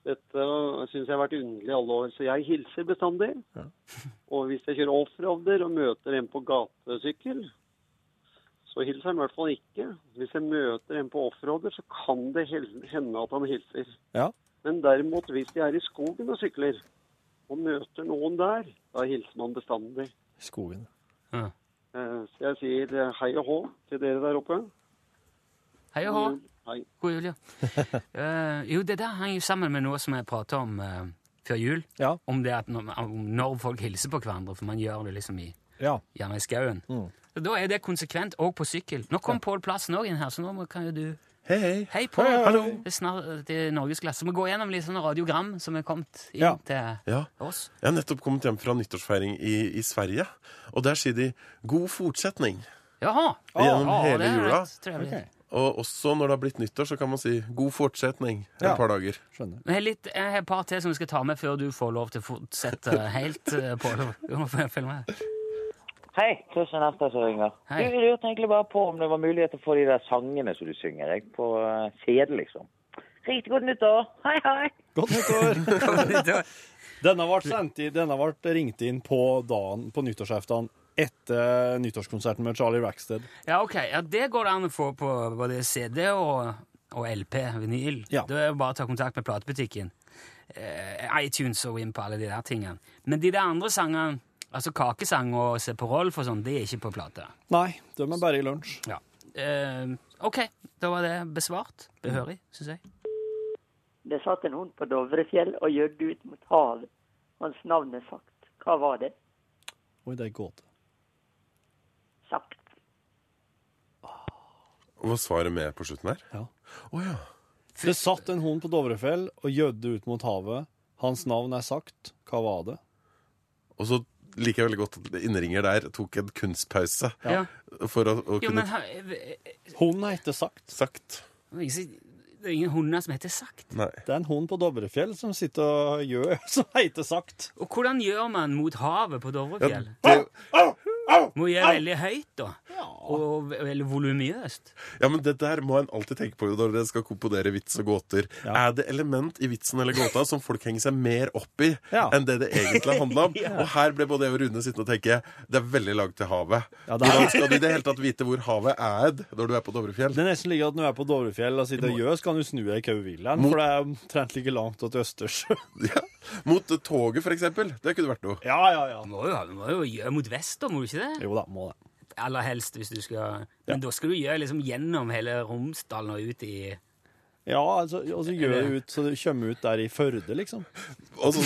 H: Dette syns jeg har vært underlig i alle år, så jeg hilser bestandig. Og hvis jeg kjører offroader og møter en på gatesykkel, så hilser han i hvert fall ikke. Hvis jeg møter en på offroader, så kan det hel- hende at han hilser.
E: Ja.
H: Men derimot, hvis de er i skogen og sykler, og møter noen der, da hilser man bestandig.
E: Skogen.
H: Eh, Så jeg sier eh, hei og hå til dere der oppe.
B: Hei og hå.
H: Hei.
B: God jul, ja. Eh, jo, det der henger jo sammen med noe som jeg prata om eh, før jul.
E: Ja.
B: Om det at når, om når folk hilser på hverandre, for man gjør det liksom i,
E: Ja.
B: gjerne i skauen.
I: Mm.
B: Så Da er det konsekvent òg på sykkel. Nå kom Pål Plassen òg inn her, så nå må- kan jo du
E: Hei, hei.
B: Hei, Pål!
E: Hei, hallo.
B: Det er snart eh, til norgesklasse. Vi går gjennom litt sånne radiogram som er kommet inn
E: Ja.
B: til
I: Ja.
B: oss.
I: Jeg har nettopp kommet hjem fra nyttårsfeiring i, i Sverige, og der sier de 'god fortsetning'.
B: Jaha!
I: Gjennom
B: Ja,
I: hele
B: det er
I: jula.
B: rett trevlig.
E: Ok.
I: Og også når det har blitt nyttår, så kan man si 'god fortsetning' et
E: Ja.
I: par dager.
E: Skjønner.
B: Jeg har, litt, jeg har et par til som vi skal ta med før du får lov til å fortsette helt eh, på Du må få følge med.
J: Hei, Kristian Efter som ringer.
B: Hei.
J: Du, jeg lurte egentlig bare på om det var muligheter for de der sangene som du synger, jeg, på eh, CD, liksom. Riktig godt nyttår. Hei, hei.
E: Godt nyttår! denne ble, sendt i, denne ble ringt inn på dagen på nyttårsaften etter nyttårskonserten med Charlie Rackstead.
B: Ja, ok. Ja, det går det an å få på både CD og, og LP, vinyl.
E: Ja.
B: Da er det bare å ta kontakt med platebutikken. Eh, iTunes og inn på alle de der tingene. Men de der andre sangene, altså kakesang og Se på Rolf og sånn, de er ikke på plate.
E: Nei, de er bare i lunsj.
B: Ja. Eh, ok, da var det besvart. Behørig, syns jeg.
K: Det satt en hund på Dovrefjell og gjødde ut mot havet. Hans navn er sagt. Hva var det?
E: Oi, det er gåte.
K: Sagt.
I: Og Hva svaret med på slutten her?
E: Ja.
I: Å ja.
E: Det satt en hund på Dovrefjell og gjødde ut mot havet. Hans navn er sagt. Hva var det?
I: Og så liker jeg veldig godt at innringer der tok en kunstpause
B: Ja.
I: for å, å
B: Jo,
I: kunne
B: men ha- eh, eh,
E: Hunden er ikke sagt.
I: sagt
B: det er ingen hunder som heter Sagt.
I: Nei.
E: Det er en hund på Dovrefjell som sitter og gjør som heter sagt.
B: Og hvordan gjør man mot havet på Dovrefjell?
I: Det,
B: Må gjøre veldig høyt, da. og, eller voluminøst.
I: Ja, men det der må en alltid tenke på når dere skal komponere vits og gåter. Er det element i vitsen eller gåta som folk henger seg mer opp i enn det det egentlig handler om?
L: Ja.
I: Og her ble både jeg og Rune sittende og tenke det er veldig langt til havet.
E: Ja, det er-
I: Hvordan skal du i det hele tatt vite hvor havet er når du er på Dovrefjell?
E: Det er nesten like at når du er på Dovrefjell og sitter og gjør, så kan du snu deg i Kauvillaen, for det er omtrent like langt til Østersjø.
I: Mot toget, for eksempel. Det kunne vært noe.
E: Ja, ja, ja.
B: Du må jo, du må jo gjøre mot vest, da, må du ikke det?
E: Jo da, må det.
B: Aller helst hvis du skal Men da skal du gjøre liksom gjennom hele Romsdalen og ut i
E: Ja, altså, og så gjør det ut, så du kommer ut der i Førde, liksom.
I: Og så,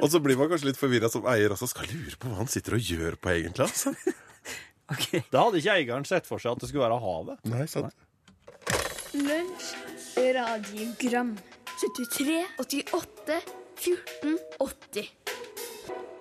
I: og så blir man kanskje litt forvirra som eier også. Skal lure på hva han sitter og gjør på egentlig. Altså.
E: Det hadde ikke eieren sett for seg at det skulle være havet.
I: Nei, sant.
F: Lunsj, radiogram 73, 88, 14, 80.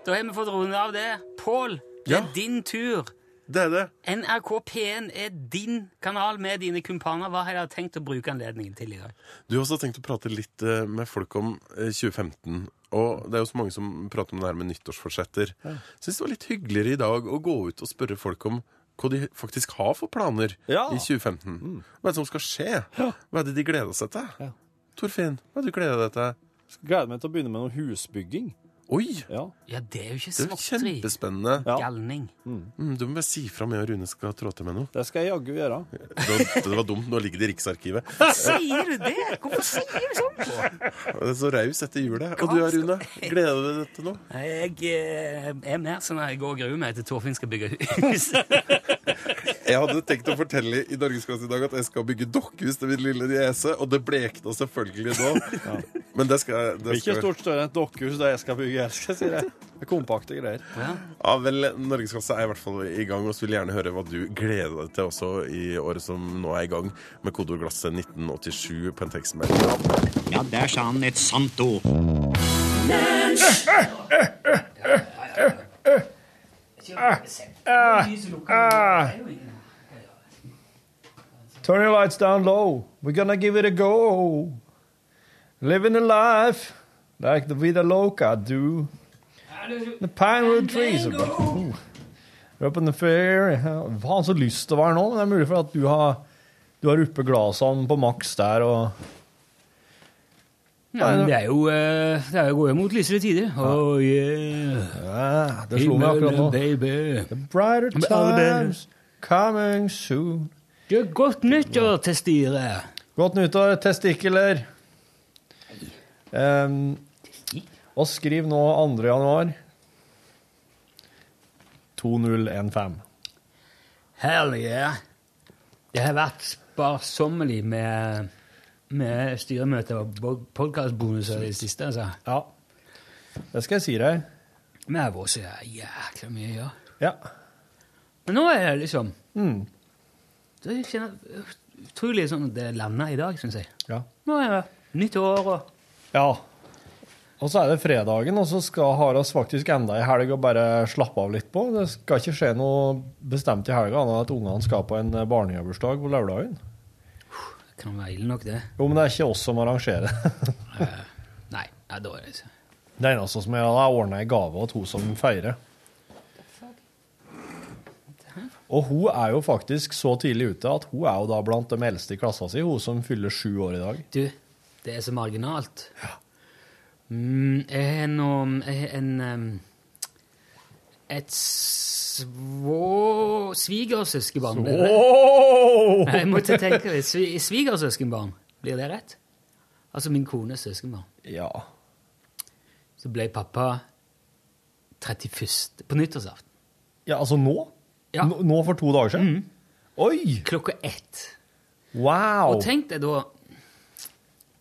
B: Da har vi fått runde av det. Pål, det er din tur.
I: Det er det.
B: NRK P1 er din kanal med dine kumpaner. Hva har dere tenkt å bruke anledningen til i dag?
I: Du har også tenkt å prate litt eh, med folk om eh, 2015. Og det er jo så mange som prater om det her med nyttårsforsetter.
E: Ja.
I: Syns det var litt hyggeligere i dag å gå ut og spørre folk om hva de faktisk har for planer
E: Ja. Mm.
I: i 2015. Hva er det som skal skje? Hva er det de gleder seg til? Torfinn, hva er det du gleder deg til?
E: Gleder meg til å begynne med noe husbygging.
I: Oi!
E: Ja,
B: Ja, det er jo ikke
I: Det er jo
B: småtteri.
I: kjempespennende.
B: Galning.
I: Mm, du må bare si fra om jeg og Rune skal trå til med noe.
E: Det skal jeg jaggu gjøre.
I: Det, det var dumt. Nå ligger det i Riksarkivet.
B: Sier du det? Hvorfor sier du sånn?
I: Det er så raus etter julet. Og du, Rune? Gleder du deg til noe?
B: Nei, Jeg eh, er mer sånn at jeg går og gruer meg til Torfinn skal bygge hus.
I: Jeg hadde tenkt å fortelle i Norgesklasse i dag at jeg skal bygge dokkehus til min lille niese, og det blekna selvfølgelig nå. Men det skal jeg-
E: Det
I: det
E: blir ikke
I: skal...
E: stort større enn et dokkehus der jeg skal bygge her, skal jeg si det. Det er kompakte greier.
I: Ja vel, Norgesklasse er i hvert fall i gang, og så vil jeg gjerne høre hva du gleder deg til også i året som nå er i gang, med kodeord glasset 1987 på en tekstmelding. Ja, der sa han et sant ord.
C: Turn your lights down low. We're gonna give it a go. Living a life like the Vida Loca do. The pinewood trees are oh. We're up in the fair. Jeg har så lyst til å være nå, men det er mulig for at du har, du har oppe glasene på maks der og
B: Ja, men det er jo eh, Det er jo går jo mot lysere tider. Oh, yeah.
C: Det slo meg akkurat nå.
B: Himmelen, Baby.
C: The brighter
B: Men alle bedre.
C: times coming soon.
B: godt nyttår til styret.
C: Godt nyttår, testikler. Um, og skriv nå 2. januar. 2015.
B: Hell yeah. Det har vært sparsommelig med, med styremøter og podkastbonuser i det siste. Altså.
C: Ja. Det skal jeg si deg.
B: Vi har vært så jækla mye å gjøre.
C: Ja.
B: Men nå er det liksom
C: Mm.
B: Det er- kjenner, utrolig sånn at det lander i dag, syns jeg.
C: Ja.
B: Nå er det nytt år og
C: ja. Og så er det fredagen, og så skal har oss faktisk enda ei helg å bare slappe av litt på. Det skal ikke skje noe bestemt i helga, annet enn at ungene skal på en barnebursdag på lørdagen.
B: Det kan være ille nok, det.
C: Jo, men det er ikke oss som arrangerer det.
B: Nei, det er dårlig. altså.
C: Det eneste som er, er ordna ei gave til hun som feirer. Og hun er jo faktisk så tidlig ute at hun er jo da blant de eldste i klassa si, hun som fyller sju år i dag.
B: Du, det er så marginalt. Mm, jeg har nå Jeg har en em, Et svå... Svigersøskenbarn. blir det
C: det?
B: Nei, Jeg måtte tenke litt. Svi- Svigersøskenbarn, blir det rett? Altså min kones søskenbarn.
C: Ja.
B: Så ble pappa 31. på nyttårsaften.
C: Ja, altså nå? Nå- Nå for to dager siden?
B: Mm.
C: Oi!
B: Klokka ett.
C: Wow!
B: Og tenk deg da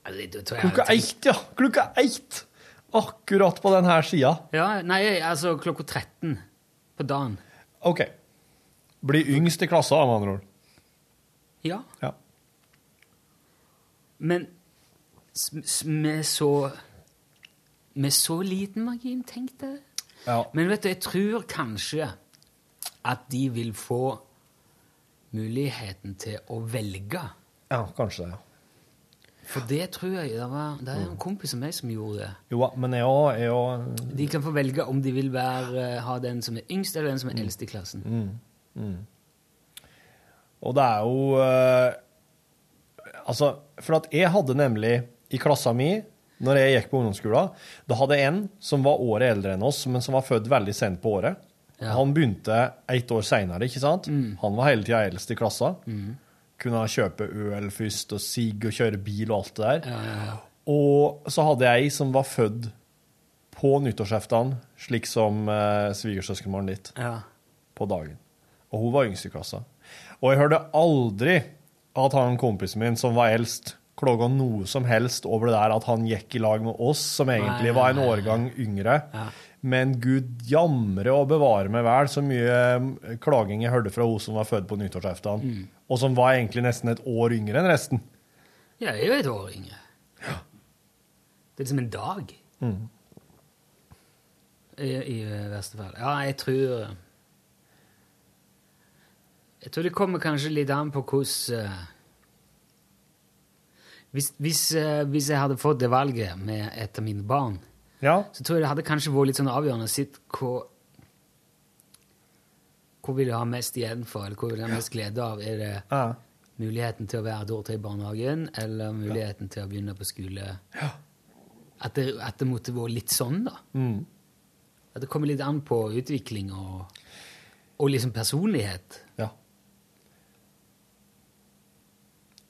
B: Eller, da tror jeg jeg
C: Klokka
B: hadde
C: ett, ja! Klokka ett! Akkurat på denne sida.
B: tenkt- Ja, nei, altså klokka 13 på dagen.
C: OK. Blir yngst i klassa, med andre ord.
B: Ja.
C: Ja.
B: Men s- s- med så Med så liten margin, tenk deg. Men vet du, jeg tror kanskje at de vil få muligheten til å velge.
C: Ja, kanskje det. ja.
B: For det tror jeg det, var, det er en kompis av meg som gjorde det.
C: Jo da, men jeg òg er jo
B: De eh, kan få velge om de vil være, ha den som er yngst, eller den som er eldst i klassen.
C: Mm. Mm. Og det er jo eh, Altså, for at jeg hadde nemlig i klassa mi, når jeg gikk på ungdomsskolen, da hadde jeg en som var året eldre enn oss, men som var født veldig sent på året. Han begynte ett år seinere, ikke sant? Han var hele tida eldst i klassa. Kunne kjøpe øl først, og sigg og kjøre bil og alt det der. Og så hadde jeg ei som var født på nyttårsaften, slik som eh, svigersøskenbarnet ditt,
B: Ja.
C: på dagen. Og hun var yngst i klassa. Og jeg hørte aldri at han kompisen min som var eldst, klaga noe som helst over det der at han gikk i lag med oss, som egentlig
E: nei,
C: var en
E: nei, nei.
C: årgang yngre.
E: Ja.
C: Men gud jamre og bevare meg vel så mye eh, klaging jeg hørte fra hun som var født på nyttårsaften,
B: Mm.
C: og som var egentlig nesten et år yngre enn resten.
B: Ja, jeg er jo et år yngre. Det er liksom en dag, i, i eh, verste fall. Ja, jeg tror eh, Jeg tror det kommer kanskje litt an på hvordan eh, hvis, hvis, eh, hvis jeg hadde fått det valget med et av mine barn, så tror jeg det hadde kanskje vært litt sånn avgjørende å se hvor Hvor vil jeg ha mest igjen for, eller hvor vil jeg ha mest glede av? Er det muligheten til å være et år til i barnehagen, eller muligheten til å begynne på skole? At, det, at det måtte vært litt sånn, da.
C: Mm.
B: At det kommer litt an på utvikling og, og liksom personlighet.
C: Ja.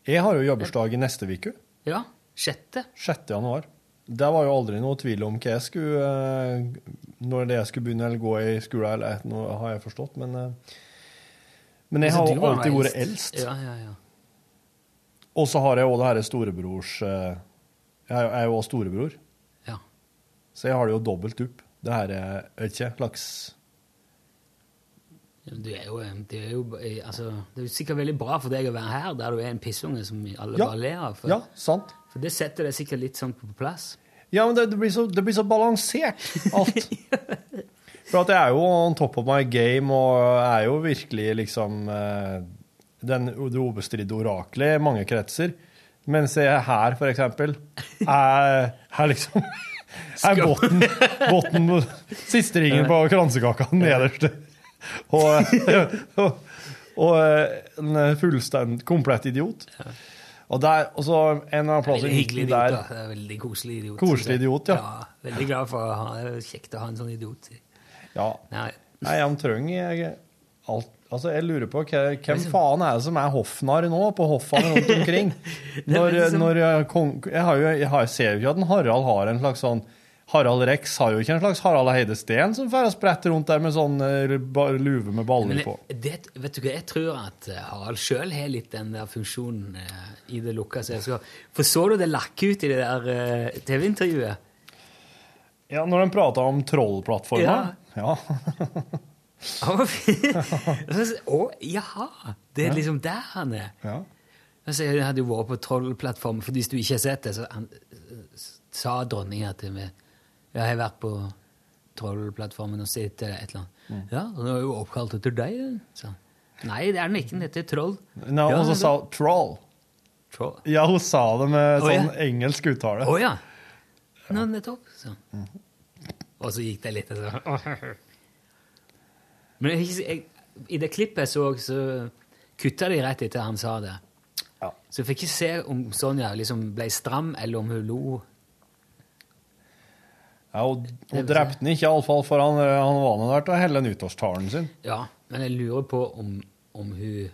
C: Jeg har jo jobbursdag i neste uke.
B: Ja. Sjette.
C: 6. januar. Det var jo aldri noe tvil om hva jeg skulle eh, Når det jeg skulle begynne eller gå i skolen, eller et- noe har jeg forstått, men eh, Men jeg
B: Altså,
C: har
B: du
C: jo
B: var
C: alltid vært eldst.
B: Ja, ja, ja.
C: Og så har jeg jo det her storebrors eh, Jeg er jo- jeg er jo også storebror.
B: Ja.
C: Så jeg har det jo dobbelt opp. Det her er vet ikke laks
B: Ja, men Du er jo, en- du er jo eh, altså, Det er jo sikkert veldig bra for deg å være her, der du er en pissunge som alle
C: Ja.
B: bare ler av. For,
C: Ja, sant.
B: for det setter deg sikkert litt sånn på plass.
C: Ja, men det, det, blir så, det blir så balansert, alt. For at jeg er jo on top of my game, og er jo virkelig liksom eh, den, det obestridde oraklet i mange kretser. Mens jeg her, for eksempel, er, er liksom Er botten, botten Siste ringen på kransekaka, den nederste. Og, og, og eh, en fullstendig komplett idiot. Og der, og så en eller annen plass i
B: Veldig hyggelig
C: midten
B: idiot,
C: Altså,
B: da.
C: der
B: Det er Veldig koselig idiot.
C: Koselig
B: synes jeg.
C: idiot, ja.
B: Veldig glad for å ha det er kjekt å ha en sånn idiot.
C: Ja.
B: Nei.
C: Nei, han trenger jeg, alt, Altså, jeg lurer på hva- hvem
B: Liksom-
C: faen er det som er hoffnarr nå, på hoffene rundt omkring? Når,
B: liksom-
C: når eh, kong, jeg, har jo, jeg, har, jeg ser jo ikke at en Harald har en slags sånn Harald Rex har jo ikke en slags Harald Heide Steen som får sprette rundt der med sånn eh, ba- lue med baller
B: Men
C: på.
B: jeg- det, vet du hva, jeg tror at eh, Harald sjøl har litt den der funksjonen eh, i det lukka selskap. For så du det lakket ut i det der eh, TV-intervjuet?
C: Ja, når de prata om trollplattforma. Ja.
B: Han var fin. Så s- Å, jaha! Det er
C: Ja.
B: liksom der han er.
C: Ja.
B: Altså, jeg hadde jo vært på trollplattformen, for hvis du ikke har sett det, så han, s- sa dronninga til meg Ja, jeg har vært på trollplattformen og sett det, et eller annet.
C: Mm.
B: Ja, den er jo oppkalt etter deg, den, sa han. Nei, det er den ikke. Den heter Troll.
C: Nei,
B: Ja,
C: og så
B: men-
C: sa hun troll.
B: Troll.
C: Ja, hun sa det med
B: Å, ja.
C: sånn engelsk uttale.
B: Å ja. Nå, nettopp. sa han. Og så gikk det litt og så- Men jeg, jeg, i det klippet jeg så, så kutta de rett etter han sa det. Så jeg fikk ikke se om Sonja liksom ble stram, eller om hun lo.
C: Ja, hun, hun drepte den ikke, iallfall, for han, eh, han var nå der til å helle nyttårstalen sin.
B: Ja, men jeg lurer på om, om hun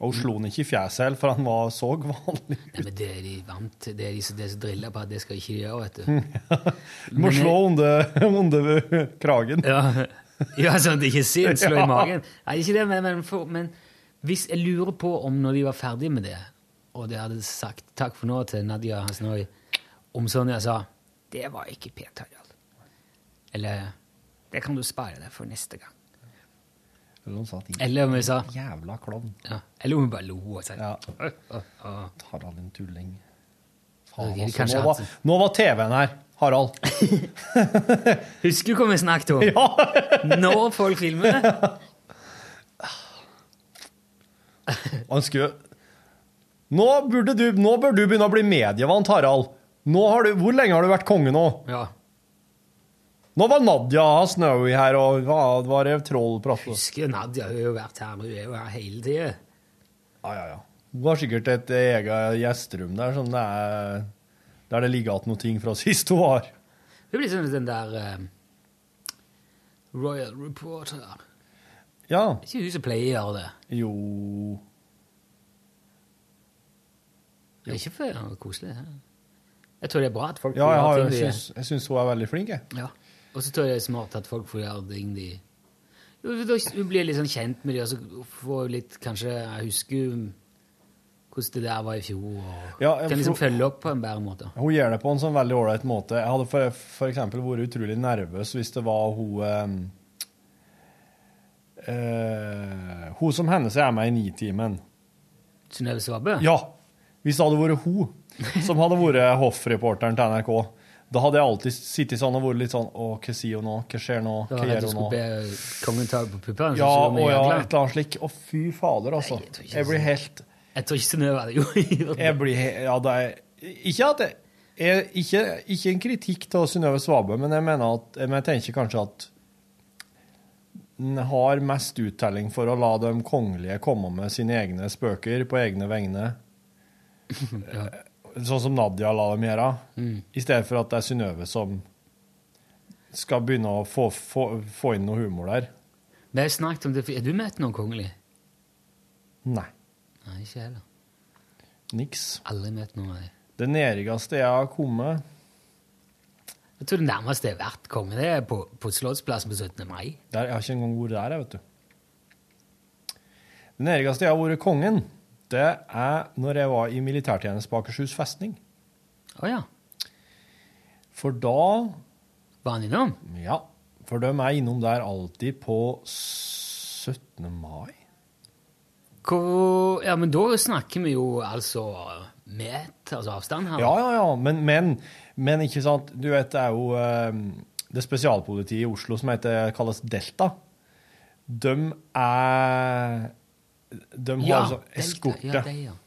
C: Og hun slo den ikke i fjeset heller, for han var så vanlig.
B: Nei, men det er de vant til. Det er de, som- det er som driller på at det skal ikke de gjøre, vet du.
C: Du må
B: Men jeg-
C: slå under, under kragen.
B: Ja. Ja, sånn at det ikke syns, slå
C: Ja.
B: i magen. Nei, ikke det, men, men, for, men hvis jeg lurer på om når de var ferdige med det, og de hadde sagt takk for nå til Nadia Hasnoi, om Sonja sa Det var ikke pent, Harald. Eller Det kan du spare deg for neste gang.
C: Eller hun sa at
B: Eller om vi sa
C: Jævla klovn.
B: Ja. Eller om hun bare lo og sa
C: Ja.
B: «Åh, åh, åh».
C: Harald, din tulling.
B: Ok,
C: Faen, altså,
B: kanskje
C: nå,
B: han-
C: var, nå var TV-en her, Harald.
B: Husker du hva vi snakket om? Når folk filmer?
C: Han skulle nå, burde du, nå bør du begynne å bli medievant, Harald. Nå har du, hvor lenge har du vært konge nå?
B: Ja.
C: Nå var Nadia Snowy her, og hva var det troll pratet
B: Husker jo Nadia, hun har jo vært her, men hun er jo her hele tida.
C: Ja, ja, ja. Hun har sikkert et eget gjesterom der som det er, der det ligger igjen noe ting fra sist hun var.
B: Hun blir sånn den der eh, Royal Reporter.
C: Ja.
B: Ikke hun som pleier å gjøre det.
C: Jo
B: Det er ikke for koselig. det. Jeg tror det er bra at folk
C: Ja, jeg, har,
B: gjøre ting
C: jeg,
B: de-
C: syns, jeg syns hun er veldig flink, jeg.
B: Ja. Og så tror jeg det er smart at folk får gjøre ting de Jo, da s- Hun blir litt sånn kjent med dem, og så får hun litt Kanskje jeg husker jo hvordan det der var i fjor. Og
C: Ja, jeg
B: kan liksom
C: tror-
B: følge opp på en bedre måte.
C: Hun gjør det på en sånn veldig ålreit måte. Jeg hadde for, for eksempel vært utrolig nervøs hvis det var hun ehm, eh, eh, Hun som hender seg er med i Nitimen.
B: Synnøve Svabø?
C: Ja. Hvis det hadde vært hun som hadde vært hoffreporteren til NRK, da hadde jeg alltid sittet sånn og vært litt sånn Å, hva sier hun nå? Hva skjer nå?
B: Da
C: Hva
B: hadde
C: gjør
B: du
C: hun
B: skulle
C: nå?
B: be eh, kongen ta det på puppene.
C: Ja,
B: så skulle
C: og
B: vi
C: ja,
B: gjøre
C: et eller annet slik. Å, fy fader, altså.
B: ikke
C: Jeg blir
B: sånn.
C: helt
B: Jeg tror ikke Synnøve hadde gjort
C: Jeg blir he- Ja, det er Ikke at jeg jeg- ikke, ikke en kritikk til Synnøve Svabø, men jeg mener at men jeg tenker kanskje at en har mest uttelling for å la de kongelige komme med sine egne spøker på egne vegne. Eh, Sånn som Nadia la dem gjøre,
B: Mm.
C: i stedet for at det er Synnøve som skal begynne å få, få, få inn noe humor der.
B: Vi har snakket om det. Har du møtt noen kongelig?
C: Nei.
B: Nei, ikke heller.
C: Niks.
B: Aldri møtt noen av dem.
C: Det nærigste jeg har kommet
B: Jeg tror det nærmeste jeg har vært konge, det er på, på Slottsplassen på 17. mai.
C: Der, jeg har ikke engang vært der, jeg, vet du. Det nærmeste jeg har vært kongen, det er når jeg var i militærtjeneste på Akershus festning.
B: Å ja.
C: For da
B: Var han innom?
C: Ja. For de er innom der alltid på 17. mai.
B: Hvor, ja, men da snakker vi jo altså meter, altså avstand her.
C: Ja, ja, ja. Men, men, men ikke sant Du vet, det er jo eh, det spesialpolitiet i Oslo som heter, kalles Delta. De er De har
B: Ja,
C: sånn
B: Delta,
C: eskorte.
B: Ja, det, ja.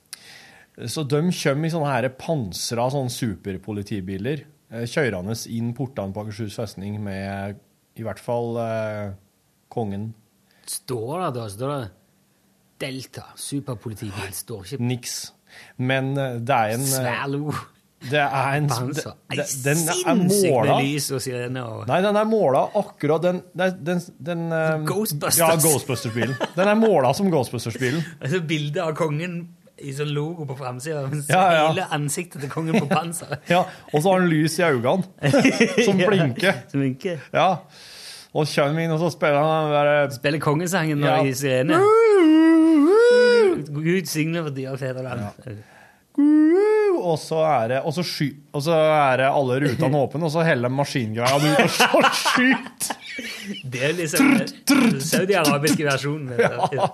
C: Så de kommer i sånne her pansra sånne superpolitibiler, eh, kjørende inn portene på Akershus festning med i hvert fall eh, kongen.
B: Står det da, står det Delta, superpolitibil, står ikke
C: Niks. Men eh, det er en eh,
B: Svælo.
C: Det er en
B: Panser.
C: det- det- Den er
B: Sinnssykt med
C: måla
B: lys og sirener og
C: Nei, den er måla akkurat den, den, den, den eh,
B: Ghostbusters.
C: Ja, Ghostbusters-bilen. Den er måla som Ghostbusters-bilen.
B: altså, Bilde av kongen i sånn logo på framsida.
C: Ja, ja.
B: Hele ansiktet til kongen på panseret.
C: Ja, og så har han lys i øynene, som
B: Ja,
C: blinker.
B: som blinker.
C: Ja. Og kommer inn, og så spiller han den der eh,
B: Spiller kongesangen når
C: Ja.
B: de sirener. Mm. Gud signe for dyre fedreland.
C: Og så er det, og så sky, og så er det alle rutene åpne, og så heller maskingreia ut og så skyt!
B: Det er liksom den saudi-arabiske versjonen. vet du.
C: Ja.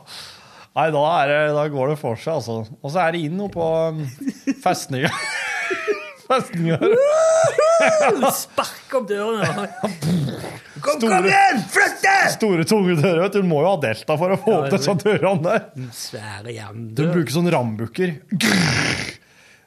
C: Nei, da, er det, da går det for seg, altså. Og så er det inn noe på um, festninga. festninga.
B: Spark opp dørene.
C: Kom, kom igjen! Flytt deg! Store, tunge dører. vet Du Du må jo ha delta for å få
B: Ja,
C: opp disse dørene der.
B: Svære
C: Du
B: jerndør.
C: bruker sånn rambukker.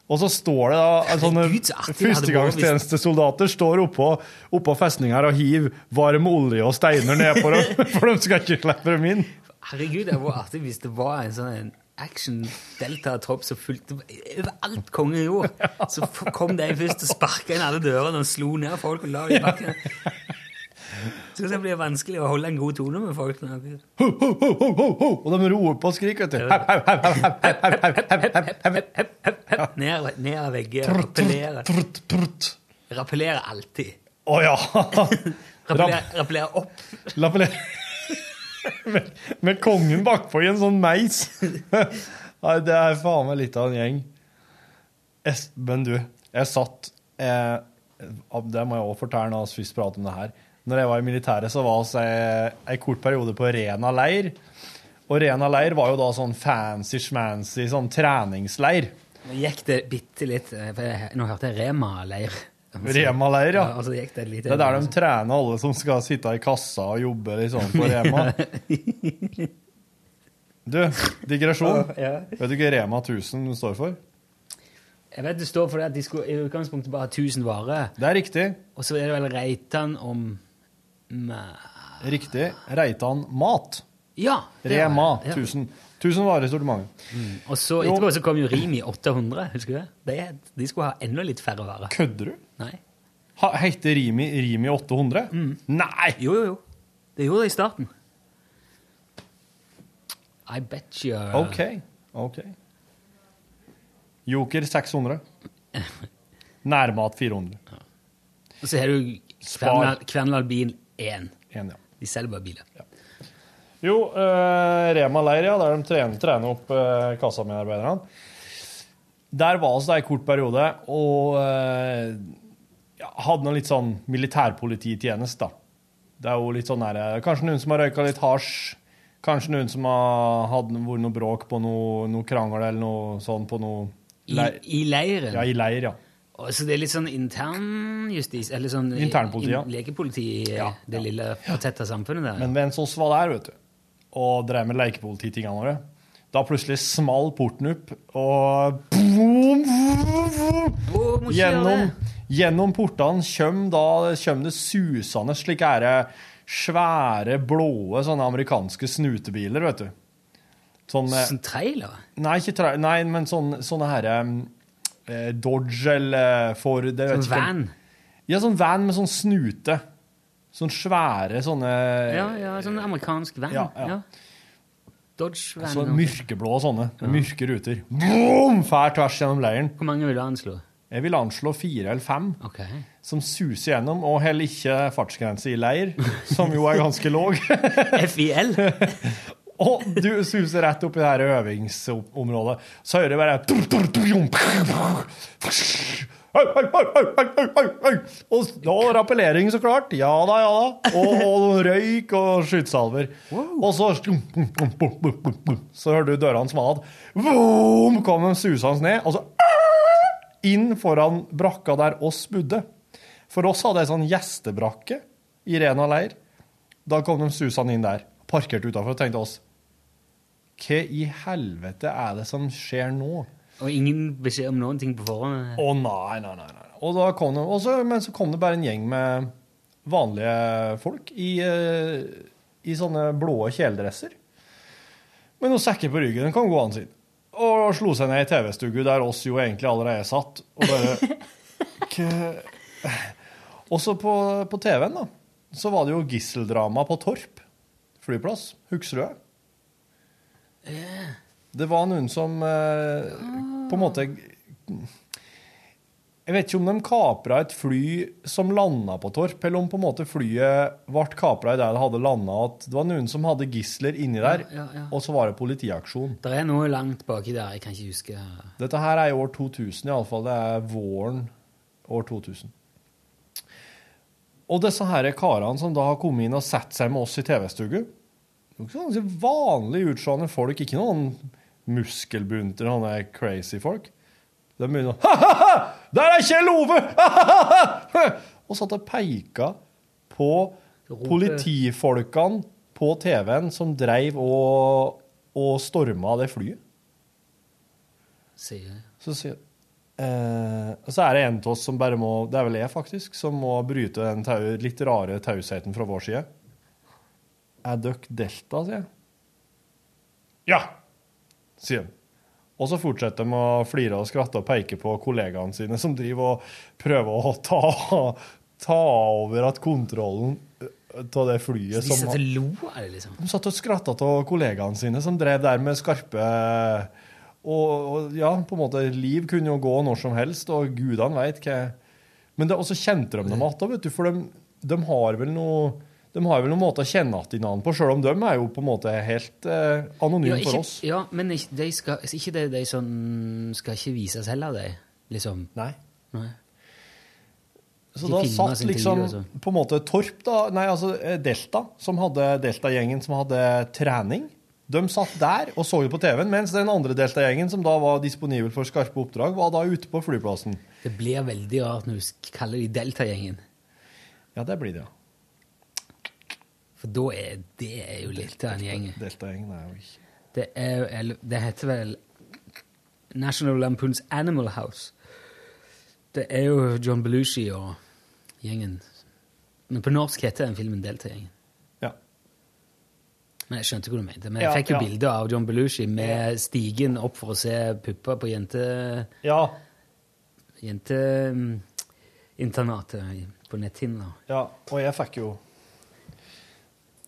C: Og så står det da en sånne
B: det hadde vært hvis-
C: førstegangstjenestesoldater står oppå, oppå festninga her og hiver varm olje og steiner ned på dem, for de skal ikke slippe dem inn.
B: Herregud, det var artig hvis det var en sånn en action-delta-tropp som fulgte overalt kongen gjorde. Så f- kom de først og sparka inn alle dørene og slo ned folk og la dem i bakken. Så det blir vanskelig å holde en god tone med folk. når de-
C: Ho, ho, ho, ho, ho, ho. Og de roper og skriker, vet du. Hau, hau, hau, hau, hau, hau, hau, hau, hau, hau, hau.
B: Ned, ned av vegger, rappellere. Rappellere alltid.
C: Å ja!
B: Rappellere, rappellere opp.
C: Lappele- med, med kongen bakpå i en sånn meis. Nei, det er faen meg litt av en gjeng. Es- Men du, jeg satt eh, ab- Det må jeg også fortelle når vi først prater om det her. Når jeg var i militæret, så var vi en kort periode på Rena leir. Og Rena leir var jo da sånn fancy-schmancy sånn treningsleir.
B: Nå gikk det bitte litt eh, for jeg, Nå hørte jeg Rema-leir.
C: Rema-leir, ja.
B: altså, gikk det, litt,
C: Det er der de trener alle som skal sitte i kassa og jobbe liksom på Rema. Du, digresjon.
B: Ja.
C: Vet du ikke Rema 1000 står for?
B: Jeg vet det står for det at de skulle i utgangspunktet bare ha 1000 varer.
C: Det er riktig.
B: Og så er det vel Reitan om Mæ-
C: Riktig. Reitan Mat.
B: Ja, det var
C: Rema
B: det, ja.
C: 1000. 1000 varer i sortimentet.
B: Og så
C: Jo.
B: etterpå så kom jo Rimi 800, husker du det? De, de skulle ha enda litt færre varer.
C: Kødder du?
B: Nei.
C: Ha- Heter Rimi Rimi 800?
B: Mm.
C: Nei!
B: Jo, jo, jo. Det gjorde det i starten. I bet you
C: OK. ok. Joker 600. Nærmat 400.
B: Og så har du
C: Spar.
B: Kvernvall- Kvernvall bil 1.
C: En, ja.
B: De selger bare biler.
C: Jo, eh, Rema leir, ja, der de trener, trener opp eh, kassamedarbeiderne. Der var oss det en kort periode, og eh, ja, hadde noe litt sånn militærpolititjeneste, da. Det er jo litt sånn der, eh, Kanskje noen som har røyka litt hasj. Kanskje noen som har hatt vært noe bråk på noe, noe krangel eller noe sånn på noe
B: I, I leiren.
C: Ja, i leir, ja.
B: Og så det er litt sånn internjustis, eller sånn i-
C: Internpoliti, ja.
B: i- lekepoliti i det lille fortetta samfunnet der.
C: Men mens oss var der, vet du, og drev med lekepolititingene våre, da plutselig small porten opp, og boom, boom, boom,
B: Å, må ikke gjøre
C: gjennom,
B: det.
C: gjennom portene kjøm da kjøm det susende slik er det svære, blåe sånne amerikanske snutebiler, vet du. Sånn, eh,
B: Sånn trailer?
C: Nei, ikke trailer, nei, men sånn, sånne her eh, Dodge eller Ford. jeg vet
B: Sånn
C: ikke hvem-
B: van?
C: Ja, sånn van med sånn snute. Sånn svære sånne
B: Ja, ja, sånn amerikansk van.
C: Ja,
B: Ja,
C: ja. Altså,
B: Dodge van.
C: Så
B: og-
C: mørkeblå sånne, med mørke ruter. Boom! Fær tvers gjennom leiren.
B: Hvor mange vil du anslå?
C: Jeg vil anslå fire eller fem,
B: Ok.
C: som suser gjennom, og heller ikke fartsgrense i leir, som jo er ganske låg.
B: FIL?
C: og du suser rett opp i det her øvingsområdet. Så hører du bare Og da rappellering, så klart. Ja da, ja da. Og, og røyk og skytesalver. Og så Så hører du dørene smalt. Vroom, Kom de susende ned, og så ah, inn foran brakka der oss bodde. For oss hadde ei sånn gjestebrakke i Rena leir. Da kom de susende inn der, parkerte utafor og tenkte oss Hva i helvete er det som skjer nå?
B: Og ingen beskjed om noen ting på forhånd?
C: Å nei, nei, nei. nei. Og da kom det, og så- men så kom det bare en gjeng med vanlige folk i, eh, i sånne blå kjeledresser. Med noen sekker på ryggen. Den kan gå an sin. Og slo seg ned i TV-stugu, der oss jo egentlig allerede satt. Og bare K- Også på, på TV-en, da, så var det jo gisseldrama på Torp flyplass. Husker du det? Det var noen som eh, på en måte
B: Ah.
C: jeg vet ikke om de kapra et fly som landa på Torp, eller om på en måte flyet ble kapra i der det hadde landa, at det var noen som hadde gisler inni der,
B: Ja, ja, ja.
C: og så var det politiaksjon.
B: Det er noe langt baki der, jeg kan ikke huske.
C: Dette her er i år 2000, iallfall. Det er våren år 2000. Og disse her karene som da har kommet inn og satt seg med oss i TV-stugu det er jo ikke sånn ganske Vanlig utseende folk, ikke noen muskelbunter, sånne crazy folk. De begynner å Ha-ha-ha! Der er Kjell Ove! Ha-ha-ha! Og satt og peika på politifolkene på TV-en som dreiv og, og storma det flyet.
B: Sier jeg.
C: Så sier eh, og så er det en av oss som bare må Det er vel jeg, faktisk, som må bryte den tau, litt rare tausheten fra vår side. Er dere Delta, sier jeg. Ja! sier han. Og så fortsetter de å flire og skratte og peke på kollegaene sine som driver og prøver å ta, ta over at kontrollen av det flyet
B: De satt
C: som
B: og lo av det, liksom.
C: de satt og skratta av kollegaene sine, som drev der med skarpe og, og ja, på en måte Liv kunne jo gå når som helst, og gudene veit hva Men det, og så kjente de dem igjen, vet du, for de, de har vel noe de har vel noen måte å kjenne igjen navn på, sjøl om de er jo på en måte helt eh, anonyme
B: Ja, ikke,
C: for oss.
B: ja men ikke de, skal, altså, ikke de, de som skal ikke vises heller, de. Liksom.
C: Nei.
B: Nei.
C: Så
B: De
C: da
B: filmer
C: satt
B: sin
C: liksom
B: intervju,
C: på en måte Torp, da, nei, altså eh, Delta, som hadde Delta-gjengen som hadde trening. De satt der og så det på TV-en, mens den andre Delta-gjengen, som da var disponibel for skarpe oppdrag, var da ute på flyplassen.
B: Det blir veldig rart når du sk- kaller de Delta-gjengen.
C: Ja, det blir det, ja.
B: For da er det er jo litt av en gjeng.
C: Delta-gjengen er jo ikke
B: Det, er, jo- eller, det heter vel National Lampoons Animal House. Det er jo John Belushi og gjengen. Men på norsk heter den filmen Delta-gjengen.
C: Ja.
B: Men jeg skjønte hva du mente. Men
C: Ja,
B: jeg fikk jo
C: ja.
B: bilde av John Belushi med stigen opp for å se pupper på jente...
C: Ja.
B: Jenteinternatet i- mm, på netthinna.
C: Ja, og jeg fikk jo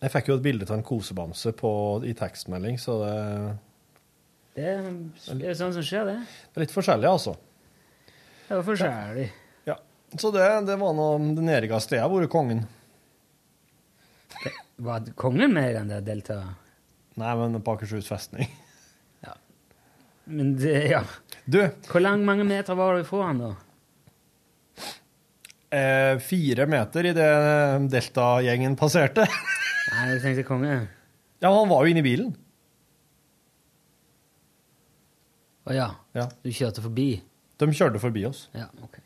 C: Jeg fikk jo et bilde av en kosebamse på, i tekstmelding, så det,
B: Det er det er sånn som skjer, det.
C: det er litt forskjellig, altså.
B: Det var forskjellig.
C: Ja. Så det, det var nå det nærmeste jeg har vært kongen.
B: Var kongen med i den der delta?
C: Nei, men på Akershus festning.
B: Men det, ja.
C: Du!
B: Hvor lang, mange meter var du fra han, da?
C: Eh, fire meter i det Delta-gjengen passerte.
B: Nei, jeg tenkte konge.
C: Ja, men han var jo inne i bilen.
B: Å ja.
C: Ja.
B: Du kjørte forbi?
C: De kjørte forbi oss.
B: Ja, ok.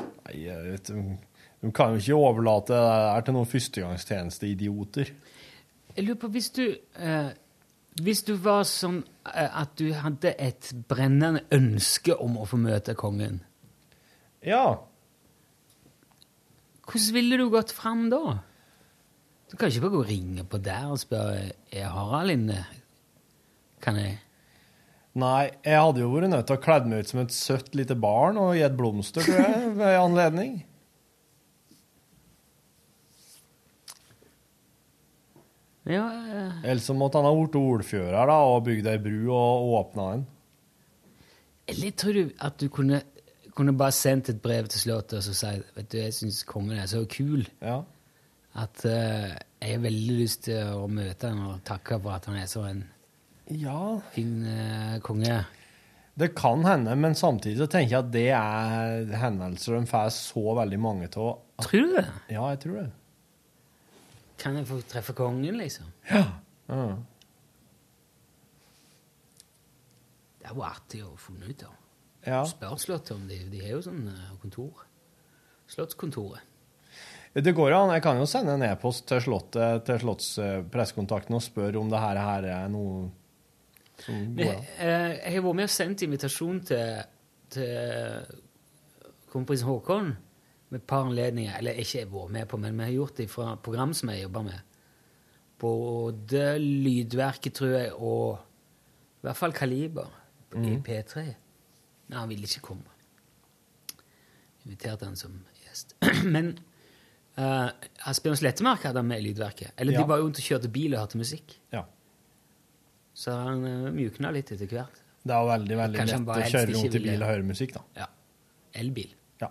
C: Nei, jeg vet, de, de kan jo ikke overlate det her til noen førstegangstjenesteidioter.
B: Jeg lurer på, hvis du, eh, hvis du var sånn eh, at du hadde et brennende ønske om å få møte kongen,
C: Ja.
B: hvordan ville du gått fram da? Du kan ikke bare gå og ringe på der og spørre er Harald inne. Kan jeg?
C: Nei, jeg hadde jo vært nødt til å kledde meg ut som et søtt lite barn og gi et blomster, tror jeg, ved anledning.
B: Ja, eh,
C: Eller så måtte han ha vært ordfører da, og bygd ei bru og åpna en.
B: Eller tror du at du kunne, kunne bare sendt et brev til Slottet og så sagt vet du, jeg syns kongen er så kul at eh, jeg har veldig lyst til å møte han og takke for at han er så en
C: Ja.
B: fin eh, konge.
C: Det kan hende, men samtidig så tenker jeg at det er henvendelser de får så veldig mange av.
B: Tror du det?
C: Ja, jeg tror det.
B: Kan jeg få treffe kongen, liksom?
C: Ja.
B: Det er jo artig å finne ut av.
C: Ja.
B: Spør Slottet om de, de har jo sånn eh, kontor. Slottskontoret.
C: Det går an. Jeg kan jo sende en e-post til Slottet, til slottspressekontakten og spørre om det her, her er noe som
B: Men,
C: går an.
B: eh, jeg har vært med og sendt invitasjon til, til kompisen Håkon med et par anledninger. Eller ikke jeg har vært med på, men vi har gjort det fra program som jeg jobber med. Både Lydverket, tror jeg, og i hvert fall Kaliber i
M: Mhm.
B: P3. Nei, han ville ikke komme. Inviterte han som gjest. men uh, Asbjørn Slettemark hadde han med i Lydverket. Eller
C: Ja.
B: de var jo ute og kjørte bil og hørte musikk.
C: Ja.
B: Så han eh, mjukna litt etter hvert.
C: Det er jo veldig veldig
B: Kanskje han
C: lett
B: bare
C: å
B: helst
C: kjøre
B: ikke
C: rundt i
B: ville-
C: bil og høre musikk, da.
B: Ja. Elbil.
C: Ja.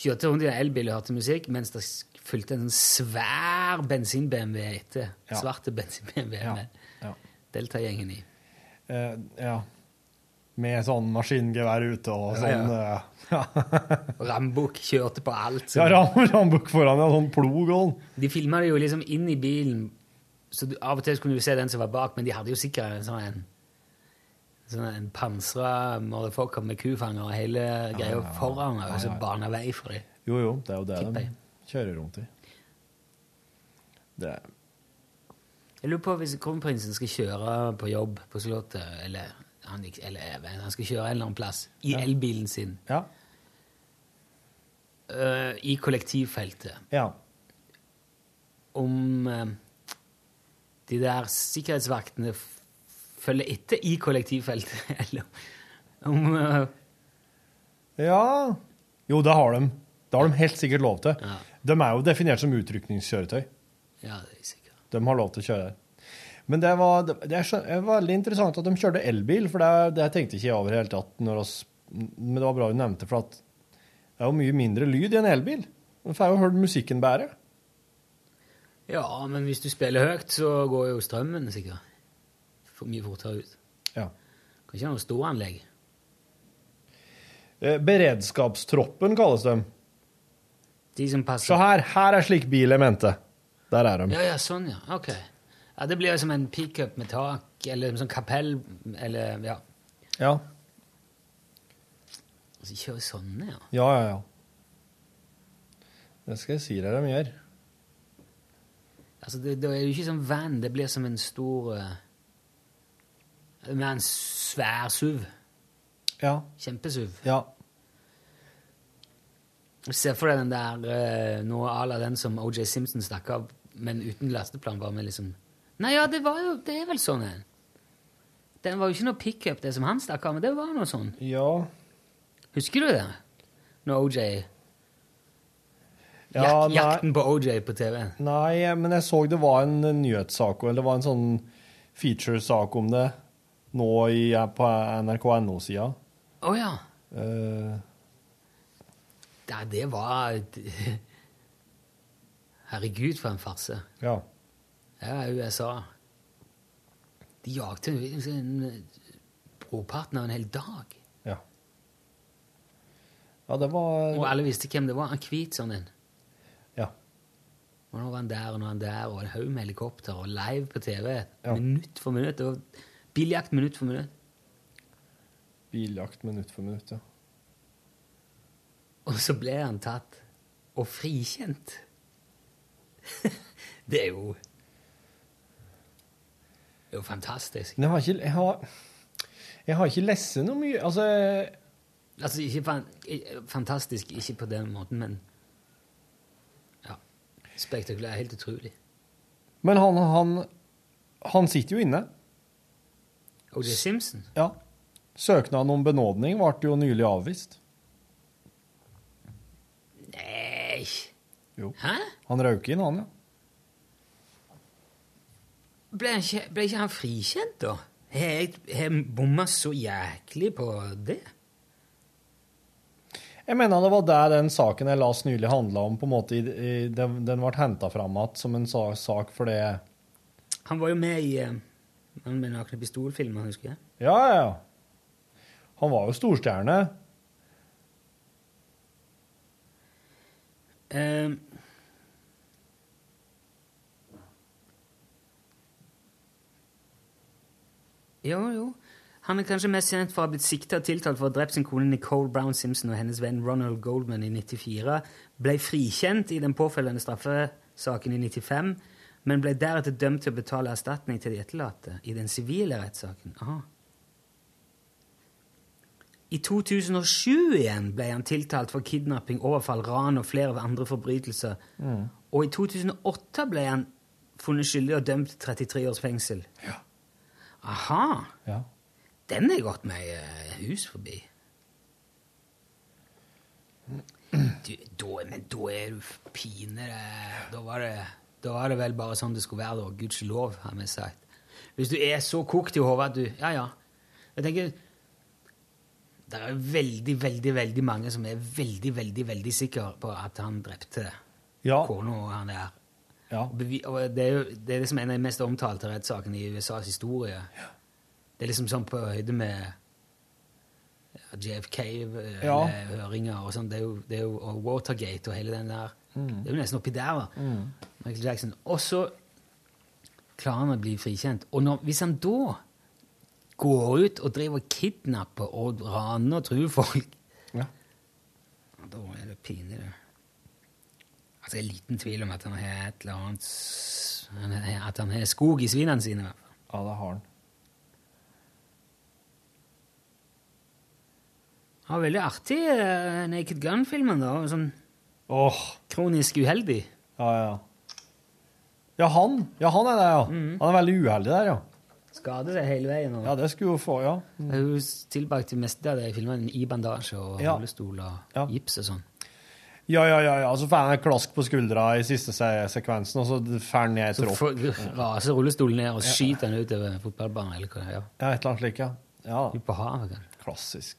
B: Kjørte rundt i en elbil og hørte musikk, mens det s- fulgte en sånn svær bensin-BMW etter.
C: Ja.
B: Svarte bensin-BMW med
C: ja.
B: Delta-gjengen i.
C: Eh, ja. Med sånn maskingevær ute og
B: Ja, ja.
C: sånn. eh, Ja,
B: Rambukk kjørte på alt.
C: ja. ram- rambukk foran ja, sånn plog og sånn.
B: De filma det jo liksom inn i bilen, så du, av og til så kunne du se den som var bak, men de hadde jo sikkert en sånn en, sånn en pansra motherfucker med kufanger og hele greia foran, og så bana vei for dem.
C: Jo, jo, det er jo det
B: Tipper
C: de
B: jeg.
C: kjører rundt i. Det er
B: Jeg lurer på hvis kronprinsen skal kjøre på jobb på Slottet, eller han, ikke- eller, jeg vet, han skal kjøre en eller annen plass, i
C: Ja.
B: elbilen sin,
C: Ja.
B: øh, i kollektivfeltet,
C: Ja.
B: om øh, de der sikkerhetsvaktene f- følger etter i kollektivfeltet, eller om øh,
C: Ja Jo, det har de. Det har de helt sikkert lov til. De er jo definert som utrykningskjøretøy.
B: Ja, det er sikkert.
C: De har lov til å kjøre der. Men det var, det det er skjøn- det var veldig interessant at de kjørte elbil, for det, det tenkte ikke jeg over i det hele tatt. Når oss, men det var bra du nevnte, for at det er jo mye mindre lyd i en elbil. Du får jo hørt musikken bedre.
B: Ja, men hvis du spiller høyt, så går jo strømmen sikkert for mye fortere ut.
C: Ja.
B: Kan ikke ha noe storanlegg.
C: Eh, Beredskapstroppen kalles de.
B: De som passer.
C: Så her, her er slik bil jeg mente. Der er de.
B: Ja, ja, sånn, ja. Ok. Ja, det blir jo som en pickup med tak, eller en sånn kapell, eller ja.
C: Ja.
B: Altså, kjøre sånne, ja.
C: Ja, ja, ja. Det skal jeg si deg de gjør.
B: Altså, det, det er jo ikke sånn van, det blir som en stor eh, Med en svær SUV.
C: Ja.
B: Kjempesuv.
C: Ja.
B: Se for deg den der eh, noe à la den som OJ Simpson stakk av, men uten lasteplan, bare med liksom Nei, ja, det var jo Det er vel sånn en. Den var jo ikke noe pickup, det som han stakk av, men det var noe sånn.
C: Ja.
B: Husker du det? Når OJ
C: Ja,
B: Jak-
C: nei.
B: Jakten på OJ på TV.
C: Nei, men jeg så det var en nyhetssak, eller det var en sånn feature-sak om det nå i, på nrk.no-sida.
B: Å ja.
C: Eh,
B: Nei, det var Herregud, for en farse.
C: ja.
B: Ja, USA. De jagte en- en- brorparten av en hel dag.
C: ja, det var
B: Og alle visste hvem det var. Han hvit sånn en.
C: Ja.
B: Og nå var han der, og nå var han der, og en haug med helikopter, og live på TV. Minutt for minutt. Og biljakt minutt for minutt.
C: biljakt minutt for minutt, ja.
B: Og så ble han tatt og frikjent. det er jo Det er jo fantastisk.
C: Men jeg har ikke Jeg har, jeg har ikke lest noe mye Altså
B: Altså, ikke fan, i- fantastisk, ikke på den måten, men Ja. Spektakulært. Helt utrolig.
C: Men han, han, han sitter jo inne.
B: O.J. Simpson?
C: Ja. Søknaden om benådning ble jo nylig avvist.
B: Nei
C: Jo.
B: Hæ?
C: Han røyk inn, han, ja.
B: Ble, han ikke, ble ikke han frikjent, da? Har jeg- har jeg bomma så jæklig på det?
C: Jeg mener det var der den saken jeg las nylig handla om, på en måte, i, i, den, den ble henta fram igjen som en sa, sak for det
B: Han var jo med i eh, han med Nakne pistol-filmer, husker jeg.
C: Ja, ja, ja. Han var jo storstjerne.
B: Eh, jo, jo. Han er kanskje mest kjent for å ha blitt sikta og tiltalt for å ha drept sin kone Nicole Brown Simpson og hennes venn Ronald Goldman i 94. Ble frikjent i den påfølgende straffesaken i 95, men ble deretter dømt til å betale erstatning til de etterlatte i den sivile rettssaken. Aha. I 2007 igjen ble han tiltalt for kidnapping, overfall, ran og flere andre forbrytelser.
M: Mm.
B: Og i 2008 ble han funnet skyldig og dømt til 33 års fengsel. Aha!
C: Ja.
B: Den har jeg gått meg eh, hus forbi. Du, da, men da er du f- pinere da var, det, da var det vel bare sånn det skulle være, da. Gudskjelov, har vi sagt. Hvis du er så kokt i hodet at du Ja, ja. Jeg tenker Det er veldig, veldig veldig mange som er veldig, veldig veldig sikre på at han drepte kona og han der. Og bevi- og det er jo det, er det som er en av de mest omtalte rettssakene i USAs historie. Det er liksom sånn på høyde med ja,
C: Ja.
B: JFK-høringer eh, og sånn. Det er jo, det er jo og Watergate og hele den der.
C: Mm.
B: Det er jo nesten oppi der, da. Michael Jackson. Og så klarer han å bli frikjent. Og når, hvis han da går ut og driver og kidnapper og raner og truer folk
C: Ja.
B: Da er det pinlig, det. Altså, jeg er liten tvil om at han har et eller annet s- han har- At han har skog i svinene sine. i hvert fall.
C: Ja, det har han.
B: Han var veldig artig, eh, Naked Gun-filmen. da, og sånn Kronisk uheldig.
C: Ja, ja. Ja, han. Ja, han er det, ja. Han er veldig uheldig der, Mhm. ja.
B: Skader seg hele veien. Og
C: Ja, det skulle jo få, ja.
B: Hun tilbrakte meste av det i filmen i bandasje og
C: Ja.
B: rullestol og
C: Ja.
B: gips og sånn.
C: Ja, ja, ja, ja. Så får han en klask på skuldra i siste se sekvensen, og så får han ned i
B: Så
C: tråkk.
B: får- raser rullestolen ned og
C: Ja.
B: skyter den utover fotballbanen. eller hva det er. Ja.
C: Ja, et eller annet slik, ja. ja.
B: Ut på havet, kanskje.
C: Klassisk.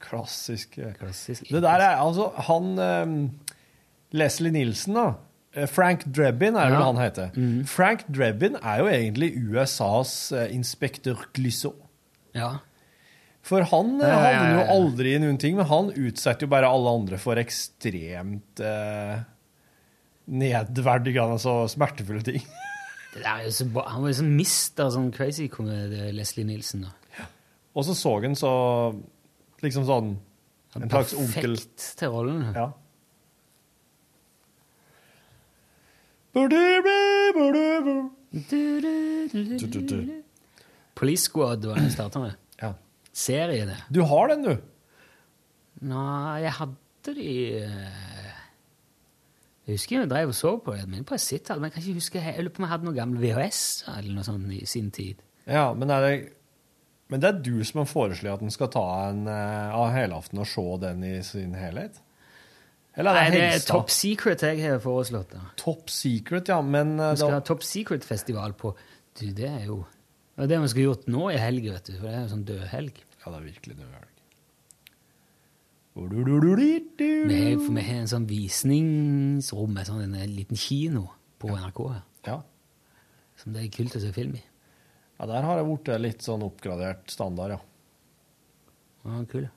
C: Klassisk. eh.
B: Klassisk.
C: Det der er altså han eh, Leslie Nilsen, da. Eh, Frank Drebin er det vel
B: Ja. Mm.
C: han heter. Frank Drebin er jo egentlig USAs eh, inspektør Glissot.
B: Ja.
C: For han eh,
B: Ja, ja, ja,
C: havner jo
B: ja.
C: aldri i noen ting, men han utsetter jo bare alle andre for ekstremt eh, nedverdigende og smertefulle ting.
B: Det der er jo så bra. Han var jo sånn mister sånn crazy komedie, Leslie Nilsen. da.
C: Og så så han så liksom sånn en slags onkel
B: Perfekt til rollen.
C: Ja. Ba-du-ba-ba-du-ba. Du-du-du.
B: Police Squad var det jeg starta med.
C: Ja.
B: Serie, det.
C: Du har den, du.
B: Nei, jeg hadde de eh, Jeg husker jeg drev og så på det, men på en sitt, men jeg kan ikke huske, jeg lurer på om jeg hadde noen gamle VHS eller noe sånt i sin tid.
C: Ja, men er det Men det er du som har foreslått at en skal ta en eh, av helaften og se den i sin helhet? Eller
B: Nei,
C: er det
B: det er
C: Helstad?
B: Top Secret jeg har foreslått. da.
C: Top Secret, ja, men eh,
B: Vi skal
C: da-
B: ha Top Secret-festival på Du, det er jo Det er det vi skulle gjort nå i helg, vet du. For det er jo sånn dødhelg.
C: Ja, det er virkelig dødhelg.
B: Vi har, for vi har en sånn visningsrom, en sånn en liten kino på NRK her. Som det er kult å se film i.
C: Ja, der har det blitt litt sånn oppgradert standard, ja.
B: Ja, kul.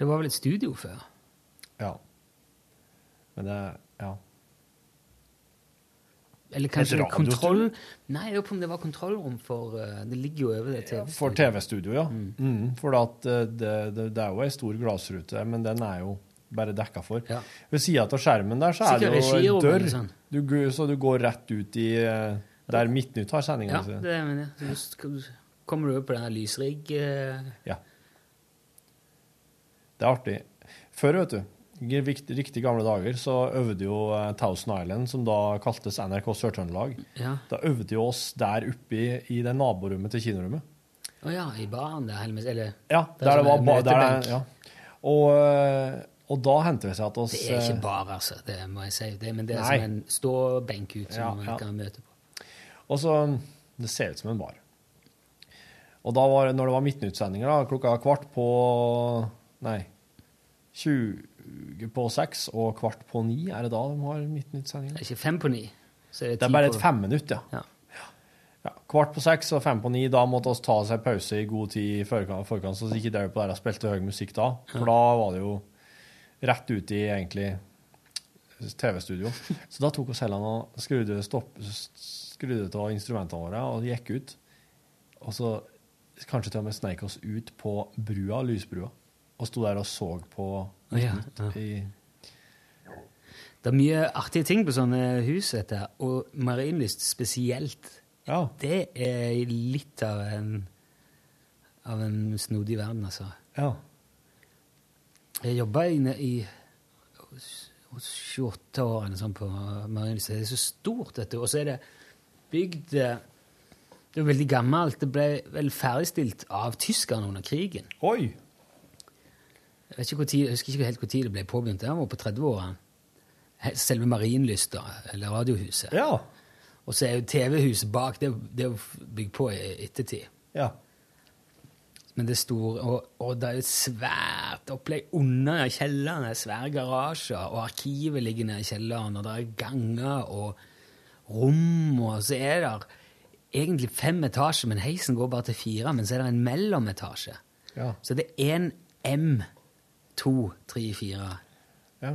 B: Det var vel et studio før?
C: Ja. Men det Ja.
B: Eller
C: Et
B: kanskje det er
C: radiostudio?
B: kontroll... Nei, jeg lurer på om det var kontrollrom for eh, Det ligger jo over det TV.
C: For TV-studio, ja. Mm. for at eh, det, det, det er jo ei stor glassrute der, men den er jo bare dekka for. Ved sida av skjermen der så er
B: Sikkert
C: det jo
B: regirom
C: en
B: eller
C: dør,
B: sånn.
C: du, gu- så du går rett ut i eh, der Midtnytt har
B: Ja,
C: sendinga si.
B: det mener jeg. Så du sk- kommer du opp på denne lysrigg... eh,
C: Det er artig. Før, vet du, i vikt- riktig gamle dager, så øvde jo eh, Thousand Island, som da kaltes NRK Sør-Trøndelag,
B: Ja.
C: da øvde jo oss der oppe i, i det naborommet til kinorommet.
B: Å ja, i baren der, helmes- eller
C: Ja,
B: Det er
C: der det
B: sånn
C: var
B: en
C: ba, der
B: møtebenk.
C: det, ja. og, eh, og da hendte det seg at oss
B: Det er
C: eh,
B: ikke bar, altså. Det må jeg si. Det, men det er
C: Nei.
B: som en ståbenk ut som
C: Ja,
B: man
C: ja.
B: kan møte på.
C: Og så eh, Det ser ut som en bar. Og da var det, når det var midtnyttsendinger, da, klokka kvart på Nei. 20 på seks og kvart på ni, er det da de har midtnyttsendinger?
B: Det er ikke fem på ni. Så er det,
C: Det er
B: ti
C: bare
B: på-
C: et femminutt, ja.
B: Ja.
C: Ja, Kvart på seks og fem på ni, da måtte oss ta seg pause i god tid i forkant, forkant så ikke drev på der og spilte høy musikk da. For da var det jo rett ut i egentlig TV-studio. Så da tok oss Helland og skrudde, stopp, skrudde av instrumentene våre og gikk ut. Og så kanskje til og med sneik oss ut på brua, lysbrua, og sto der og så på
B: Å ja,
C: Nytt i
B: Det er mye artige ting på sånne hus, vet jeg. Og marinlyst spesielt. Det er litt av en, av en snodig verden, altså.
C: Ja.
B: Jeg jobba inne i hos- hos 28 år eller sånn på marinlyst. Det er så stort, dette. Og så er det bygd eh, Det er veldig gammelt. Det ble vel ferdigstilt av tyskerne under krigen.
C: Oi!
B: Jeg, vet ikke hvor tid, jeg husker ikke helt når det ble påbegynt. Det var på 30-åra. He- Selve Marienlysta, eller Radiohuset. Og så er jo TV-huset bak. Det, er jo- det er jo bygd på i ettertid.
C: Ja.
B: Men det er store, og, og det er jo et svært opplegg under i kjelleren. Det er svære garasjer, og arkivet ligger nede i kjelleren, og det er ganger og rom, og så er det egentlig fem etasjer, men heisen går bare til fire, men så er det en mellometasje.
C: Ja.
B: Så det er en M, to, tre, fire.
C: Ja.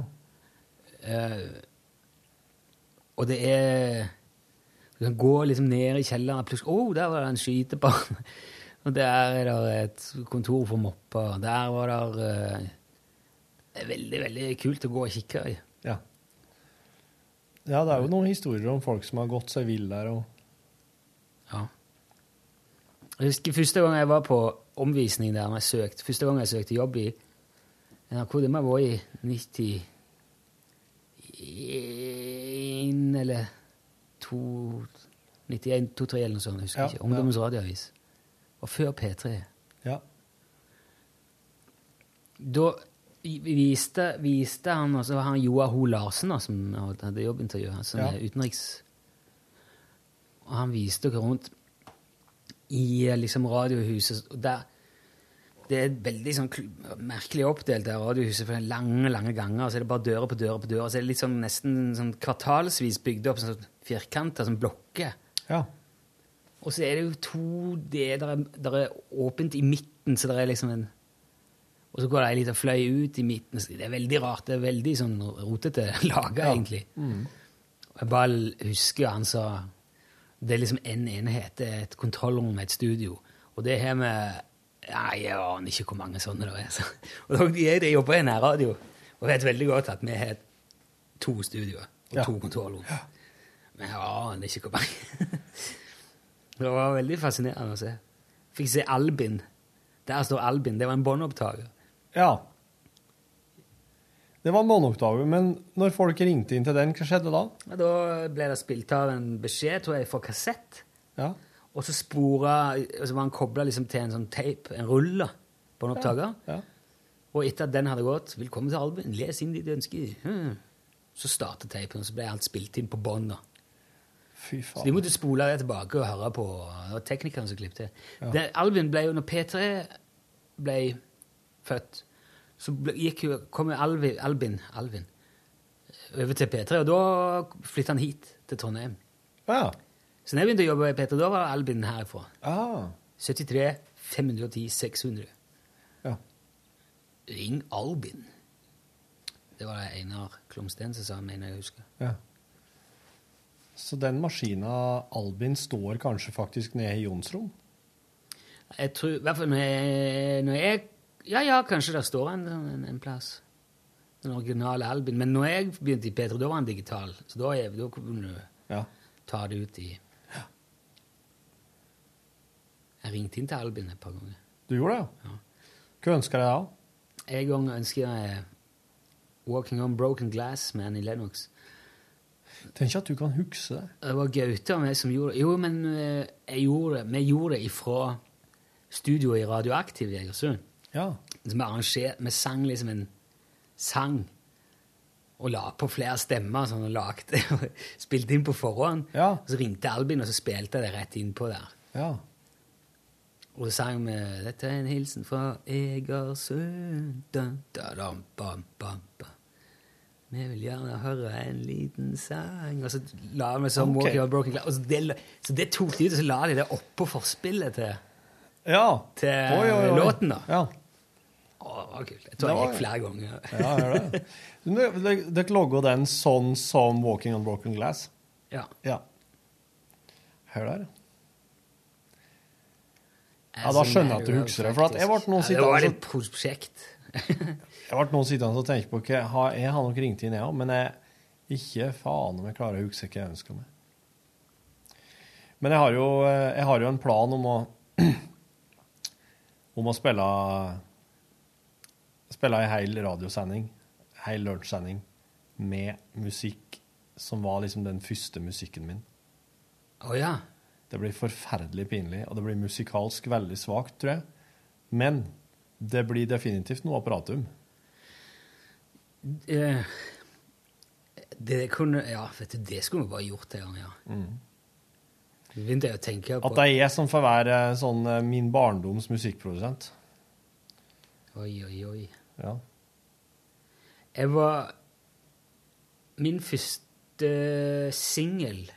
B: Eh, og det er Du kan gå liksom ned i kjelleren, og plutselig Å, der var det en skytebane! og der er det et kontor for mopper. og Der var det eh, Det er veldig, veldig kult å gå og kikke i.
C: Ja. Ja, det er jo noen historier om folk som har gått seg vill der og
B: Ja. Jeg husker første gang jeg var på omvisning der når jeg søkte. Første gang jeg søkte jobb i NRK, det må ha vært i 91 eller 2 91, 2-3 eller noe sånt, jeg husker
C: Ja,
B: ikke. Ungdommens radioavis. Og før P3.
C: Ja.
B: Da i- viste, viste han, og så var han Joar Ho Larsen da, som hadde jobbintervju, han som
N: Ja.
B: er utenriks... Og han viste dere rundt i eh, liksom radiohuset. Og der, det er veldig sånn kl- merkelig oppdelt, det radiohuset, for det er lange lange ganger. Og så er det bare dører på dører på dører. Og så er det litt sånn, nesten sånn kvartalsvis bygd opp sånn firkanter, sånn blokker.
C: Ja.
B: Og så er det jo to det der er, der er åpent i midten, så det er liksom en Og så går det ei lita fløy ut i midten. Så det er veldig rart. Det er veldig sånn rotete laga, egentlig.
N: Mm.
B: Og Jeg bare l- husker han sa Det er liksom en enhet, det er et kontrollrom med et studio. Og det har vi Nei, jeg aner ikke hvor mange sånne det er. Så. Og da- jeg jeg jobber i nærradio og vet veldig godt at vi har to studioer og
N: Ja.
B: to kontrollrom. Men jeg aner ikke hvor mange. det var veldig fascinerende å se. Fikk se Albin. Der står Albin. Det var en båndopptaker.
C: Ja. Det var monooktaver, men når folk ringte inn til den, hva skjedde da?
B: Ja, Da ble det spilt av en beskjed, tror jeg, fra kassett.
C: Ja.
B: Og så spora, og så var han kobla liksom til en sånn tape, en rulle, på en opptaker.
C: Ja.
B: Og etter at den hadde gått 'Velkommen til albumet, les inn ditt ønske', hmm, så startet tapen, og så ble alt spilt inn på bånd. da.
C: Fy
B: Så de måtte spole det tilbake og høre på. Det var teknikeren som klippet.
C: Ja.
B: Det, Alvin ble jo, når P3 ble født, så ble, gikk jo, kom jo Alvin, Albin, Alvin over til P3, og da flyttet han hit, til Trondheim. Så når jeg begynte å jobbe i P3, da var Albin herfra. 73 510 600.
C: Ja.
B: Ring Albin. Det var det Einar Klomsten som sa, mener jeg å huske.
C: Ja. Så den maskina Albin står kanskje faktisk nede i Jons rom?
B: Jeg tror, i hvert fall når jeg, når jeg Ja, ja, kanskje der står en, en, en plass. Den originale Albin. Men når jeg begynte i P3, da var han digital. Så da, er, da kunne du ta det ut i Jeg ringte inn til Albin et par ganger.
C: Du gjorde det? Ja. Hva ønsker jeg da?
B: En gang ønsker jeg 'Walking on Broken Glass' med Annie Lennox.
C: Tenk at du kan huske det.
B: Det var Gaute og meg som gjorde det. Jo, men eh, jeg gjorde, det- vi gjorde det ifra studioet i Radioaktiv i Egersund.
C: Ja.
B: Som vi arrangerte, vi sang liksom en sang og la på flere stemmer sånn, og lagde, og spilte inn på forhånd. Og så ringte Albin, og så spilte jeg det rett innpå der.
C: Ja.
B: Og så sang vi 'Dette er en hilsen fra Egersund'. Da, da, dam, bam, bam, bam. Vi vil gjerne høre en liten sang. Og så la vi sånn
C: Ok.
B: Walking on Broken Glass. Og så, det, så det tok de ut, og så la de det oppå forspillet til,
C: Ja.
B: til
C: Oi, oi, oi.
B: låten, da.
C: Ja.
B: Å, det var kult. Jeg tror
C: Det
B: jeg
C: var-
B: gikk flere ganger.
C: Ja, gjør det. Men Dere dere logger den sånn som 'Walking on Broken Glass'?
B: Ja.
C: ja. Hør der.
B: Jeg
C: Ja, da
B: som
C: skjønner jeg at
B: er
C: du
B: jo
C: husker det. For at jeg
B: faktisk-
C: ble nå
B: Ja, det var
C: sittende
B: et prosjekt.
C: Jeg ble nå sittende og tenke på hva jeg har- Jeg har nok ringt inn, jeg òg, men jeg ikke faen om jeg klarer å huske hva jeg ønsker meg. Men jeg har jo, eh, jeg har jo en plan om å om å spille spille ei hel radiosending, hel lunsjsending, med musikk som var liksom den første musikken min.
B: Å ja.
C: Det blir forferdelig pinlig, og det blir musikalsk veldig svakt, tror jeg. Men det blir definitivt noe apparatum.
B: Eh, Det kunne Ja, vet du, det skulle vi bare gjort en gang, ja. Vi begynte jeg å tenke på
C: Mm. At det er jeg som får være sånn eh, min barndoms musikkprodusent.
B: Oi, oi, oi.
C: Ja.
B: Jeg var Min første singel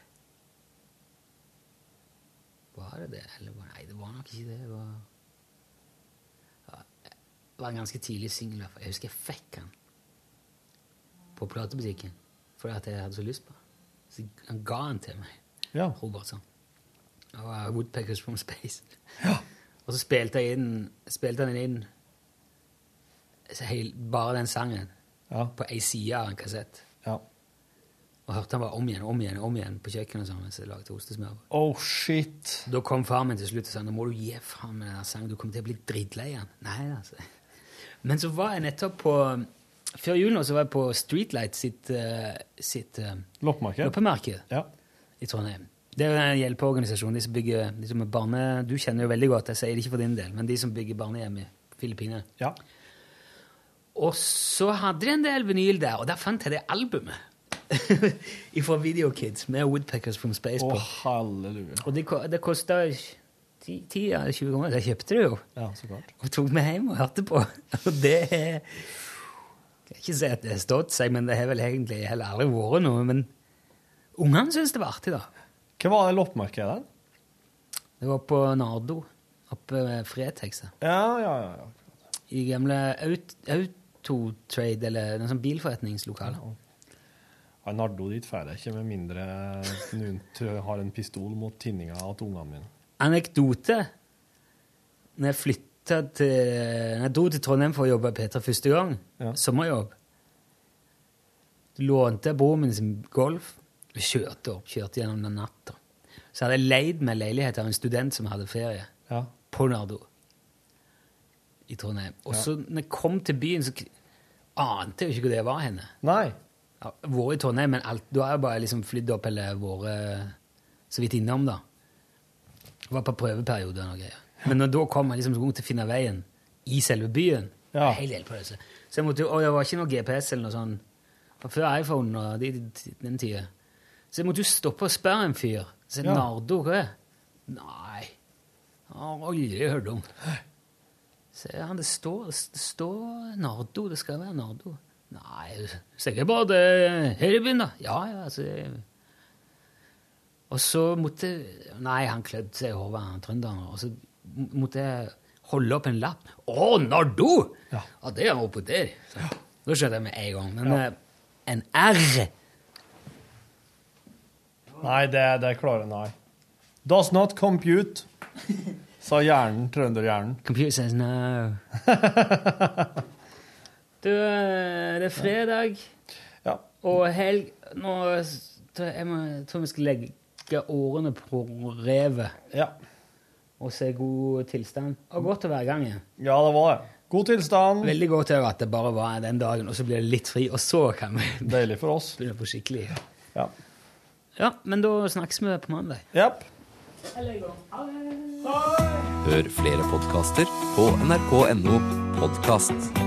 B: Var det det? Eller var, nei, det var nok ikke det. Det var, ja, det var en ganske tidlig singel. i hvert fall. Jeg husker jeg fikk den på platebutikken fordi at jeg hadde så lyst på den. Så han ga den til meg,
C: ja.
B: Robertson. Det var Woodpeckers from Space. Og så spilte jeg inn, spilte han den inn så hel, bare den sangen på ei side av en kassett. Og hørte han bare om igjen om igjen, om igjen på kjøkkenet sammen mens jeg lagde ostesmør.
C: Oh, shit.
B: Da kom far min til slutt og sa nå må du gi faen med den der sangen, du kommer til å bli drittlei av den. Nei, altså. Men så var jeg nettopp på Før jul nå så var jeg på Streetlight sitt, eh, sitt eh,
C: Loppemarked.
B: loppemarked
C: Ja.
B: i Trondheim. Det er jo en hjelpeorganisasjon. De som bygger de som er barne... Du kjenner jo veldig godt, jeg sier det ikke for din del, men de som bygger barnehjem i Filippinene.
C: Ja.
B: Og så hadde de en del vinyl der, og der fant jeg det albumet. Fra Video Kids med Woodpeckers from Space
C: Å,
B: på.
C: halleluja.
B: Og det, ko- det kosta 10 eller 20 kroner. Det kjøpte du jo.
C: Ja, så klart.
B: Og tok med hjem og hørte på. Og det er Jeg kan ikke si at det har stått seg, men det har vel egentlig heller aldri vært noe. Men ungene syns det var artig, da.
C: Hva var det loppemarkedet?
B: Det var på Nardo, oppe ved Fretex. da.
C: Ja, ja, ja. ja.
B: I gamle Aut- Autotrade, eller noe sånt bilforretningslokale.
C: Ja, Nardo dit får jeg ikke, med mindre noen t- har en pistol mot tinninga til ungene mine.
B: anekdote Når jeg flytta til Når jeg dro til Trondheim for å jobbe i P3 første gang, sommerjobb Lånte jeg broren min sin Golf og kjørte opp. Kjørte gjennom den natta. Så hadde jeg leid meg leilighet av en student som hadde ferie
C: Ja.
B: på Nardo i Trondheim. Og
C: Ja.
B: så når jeg kom til byen, så k- ante jo ikke hvor det var henne.
C: Nei.
B: Ja, vært i Trondheim, men alt, da har jeg bare liksom flydd opp eller vært så vidt innom, da. Var på prøveperiode og noe greier. Men når da kom jeg liksom så god til å finne veien i selve byen
O: Ja.
B: Helt hjelpeløse. Så jeg måtte, jo- og det var ikke noe GPS eller noe sånn. For før iPhone og de, den tida. Så jeg måtte jo stoppe og spørre en fyr. Så
O: Ja.
B: Nardo, hva er det? Nei, jeg har aldri hørt om. Så han, det står, det står Nardo, det skal være Nardo. Nei, sikkert bare det her i byen da. Ja, ja, altså. det- Og så måtte, nei, han klødde seg i hovedet, han trønderen, og så måtte jeg holde opp en lapp. Å, Nardo! Ja, det er han oppe der. Så, Da skjønte jeg med en gang. Men eh, en R,
C: Nei, det, det klarer nei. Does not compute, sa hjernen, trønderhjernen.
B: Computer says no. Du, eh, det er fredag og helg. Nå s- tror jeg, jeg må, tror vi skal legge årene på revet. Og se god tilstand. Og godt å være i gang igjen.
C: Ja, det var det. God tilstand.
B: Veldig godt å høre at det bare var den dagen, og så blir det litt fri, og så kan vi
C: Deilig for oss.
B: begynne på skikkelig.
C: Ja.
B: ja, men da snakkes vi på mandag.
C: Yep.
I: Hør flere podkaster på nrk.no podkast.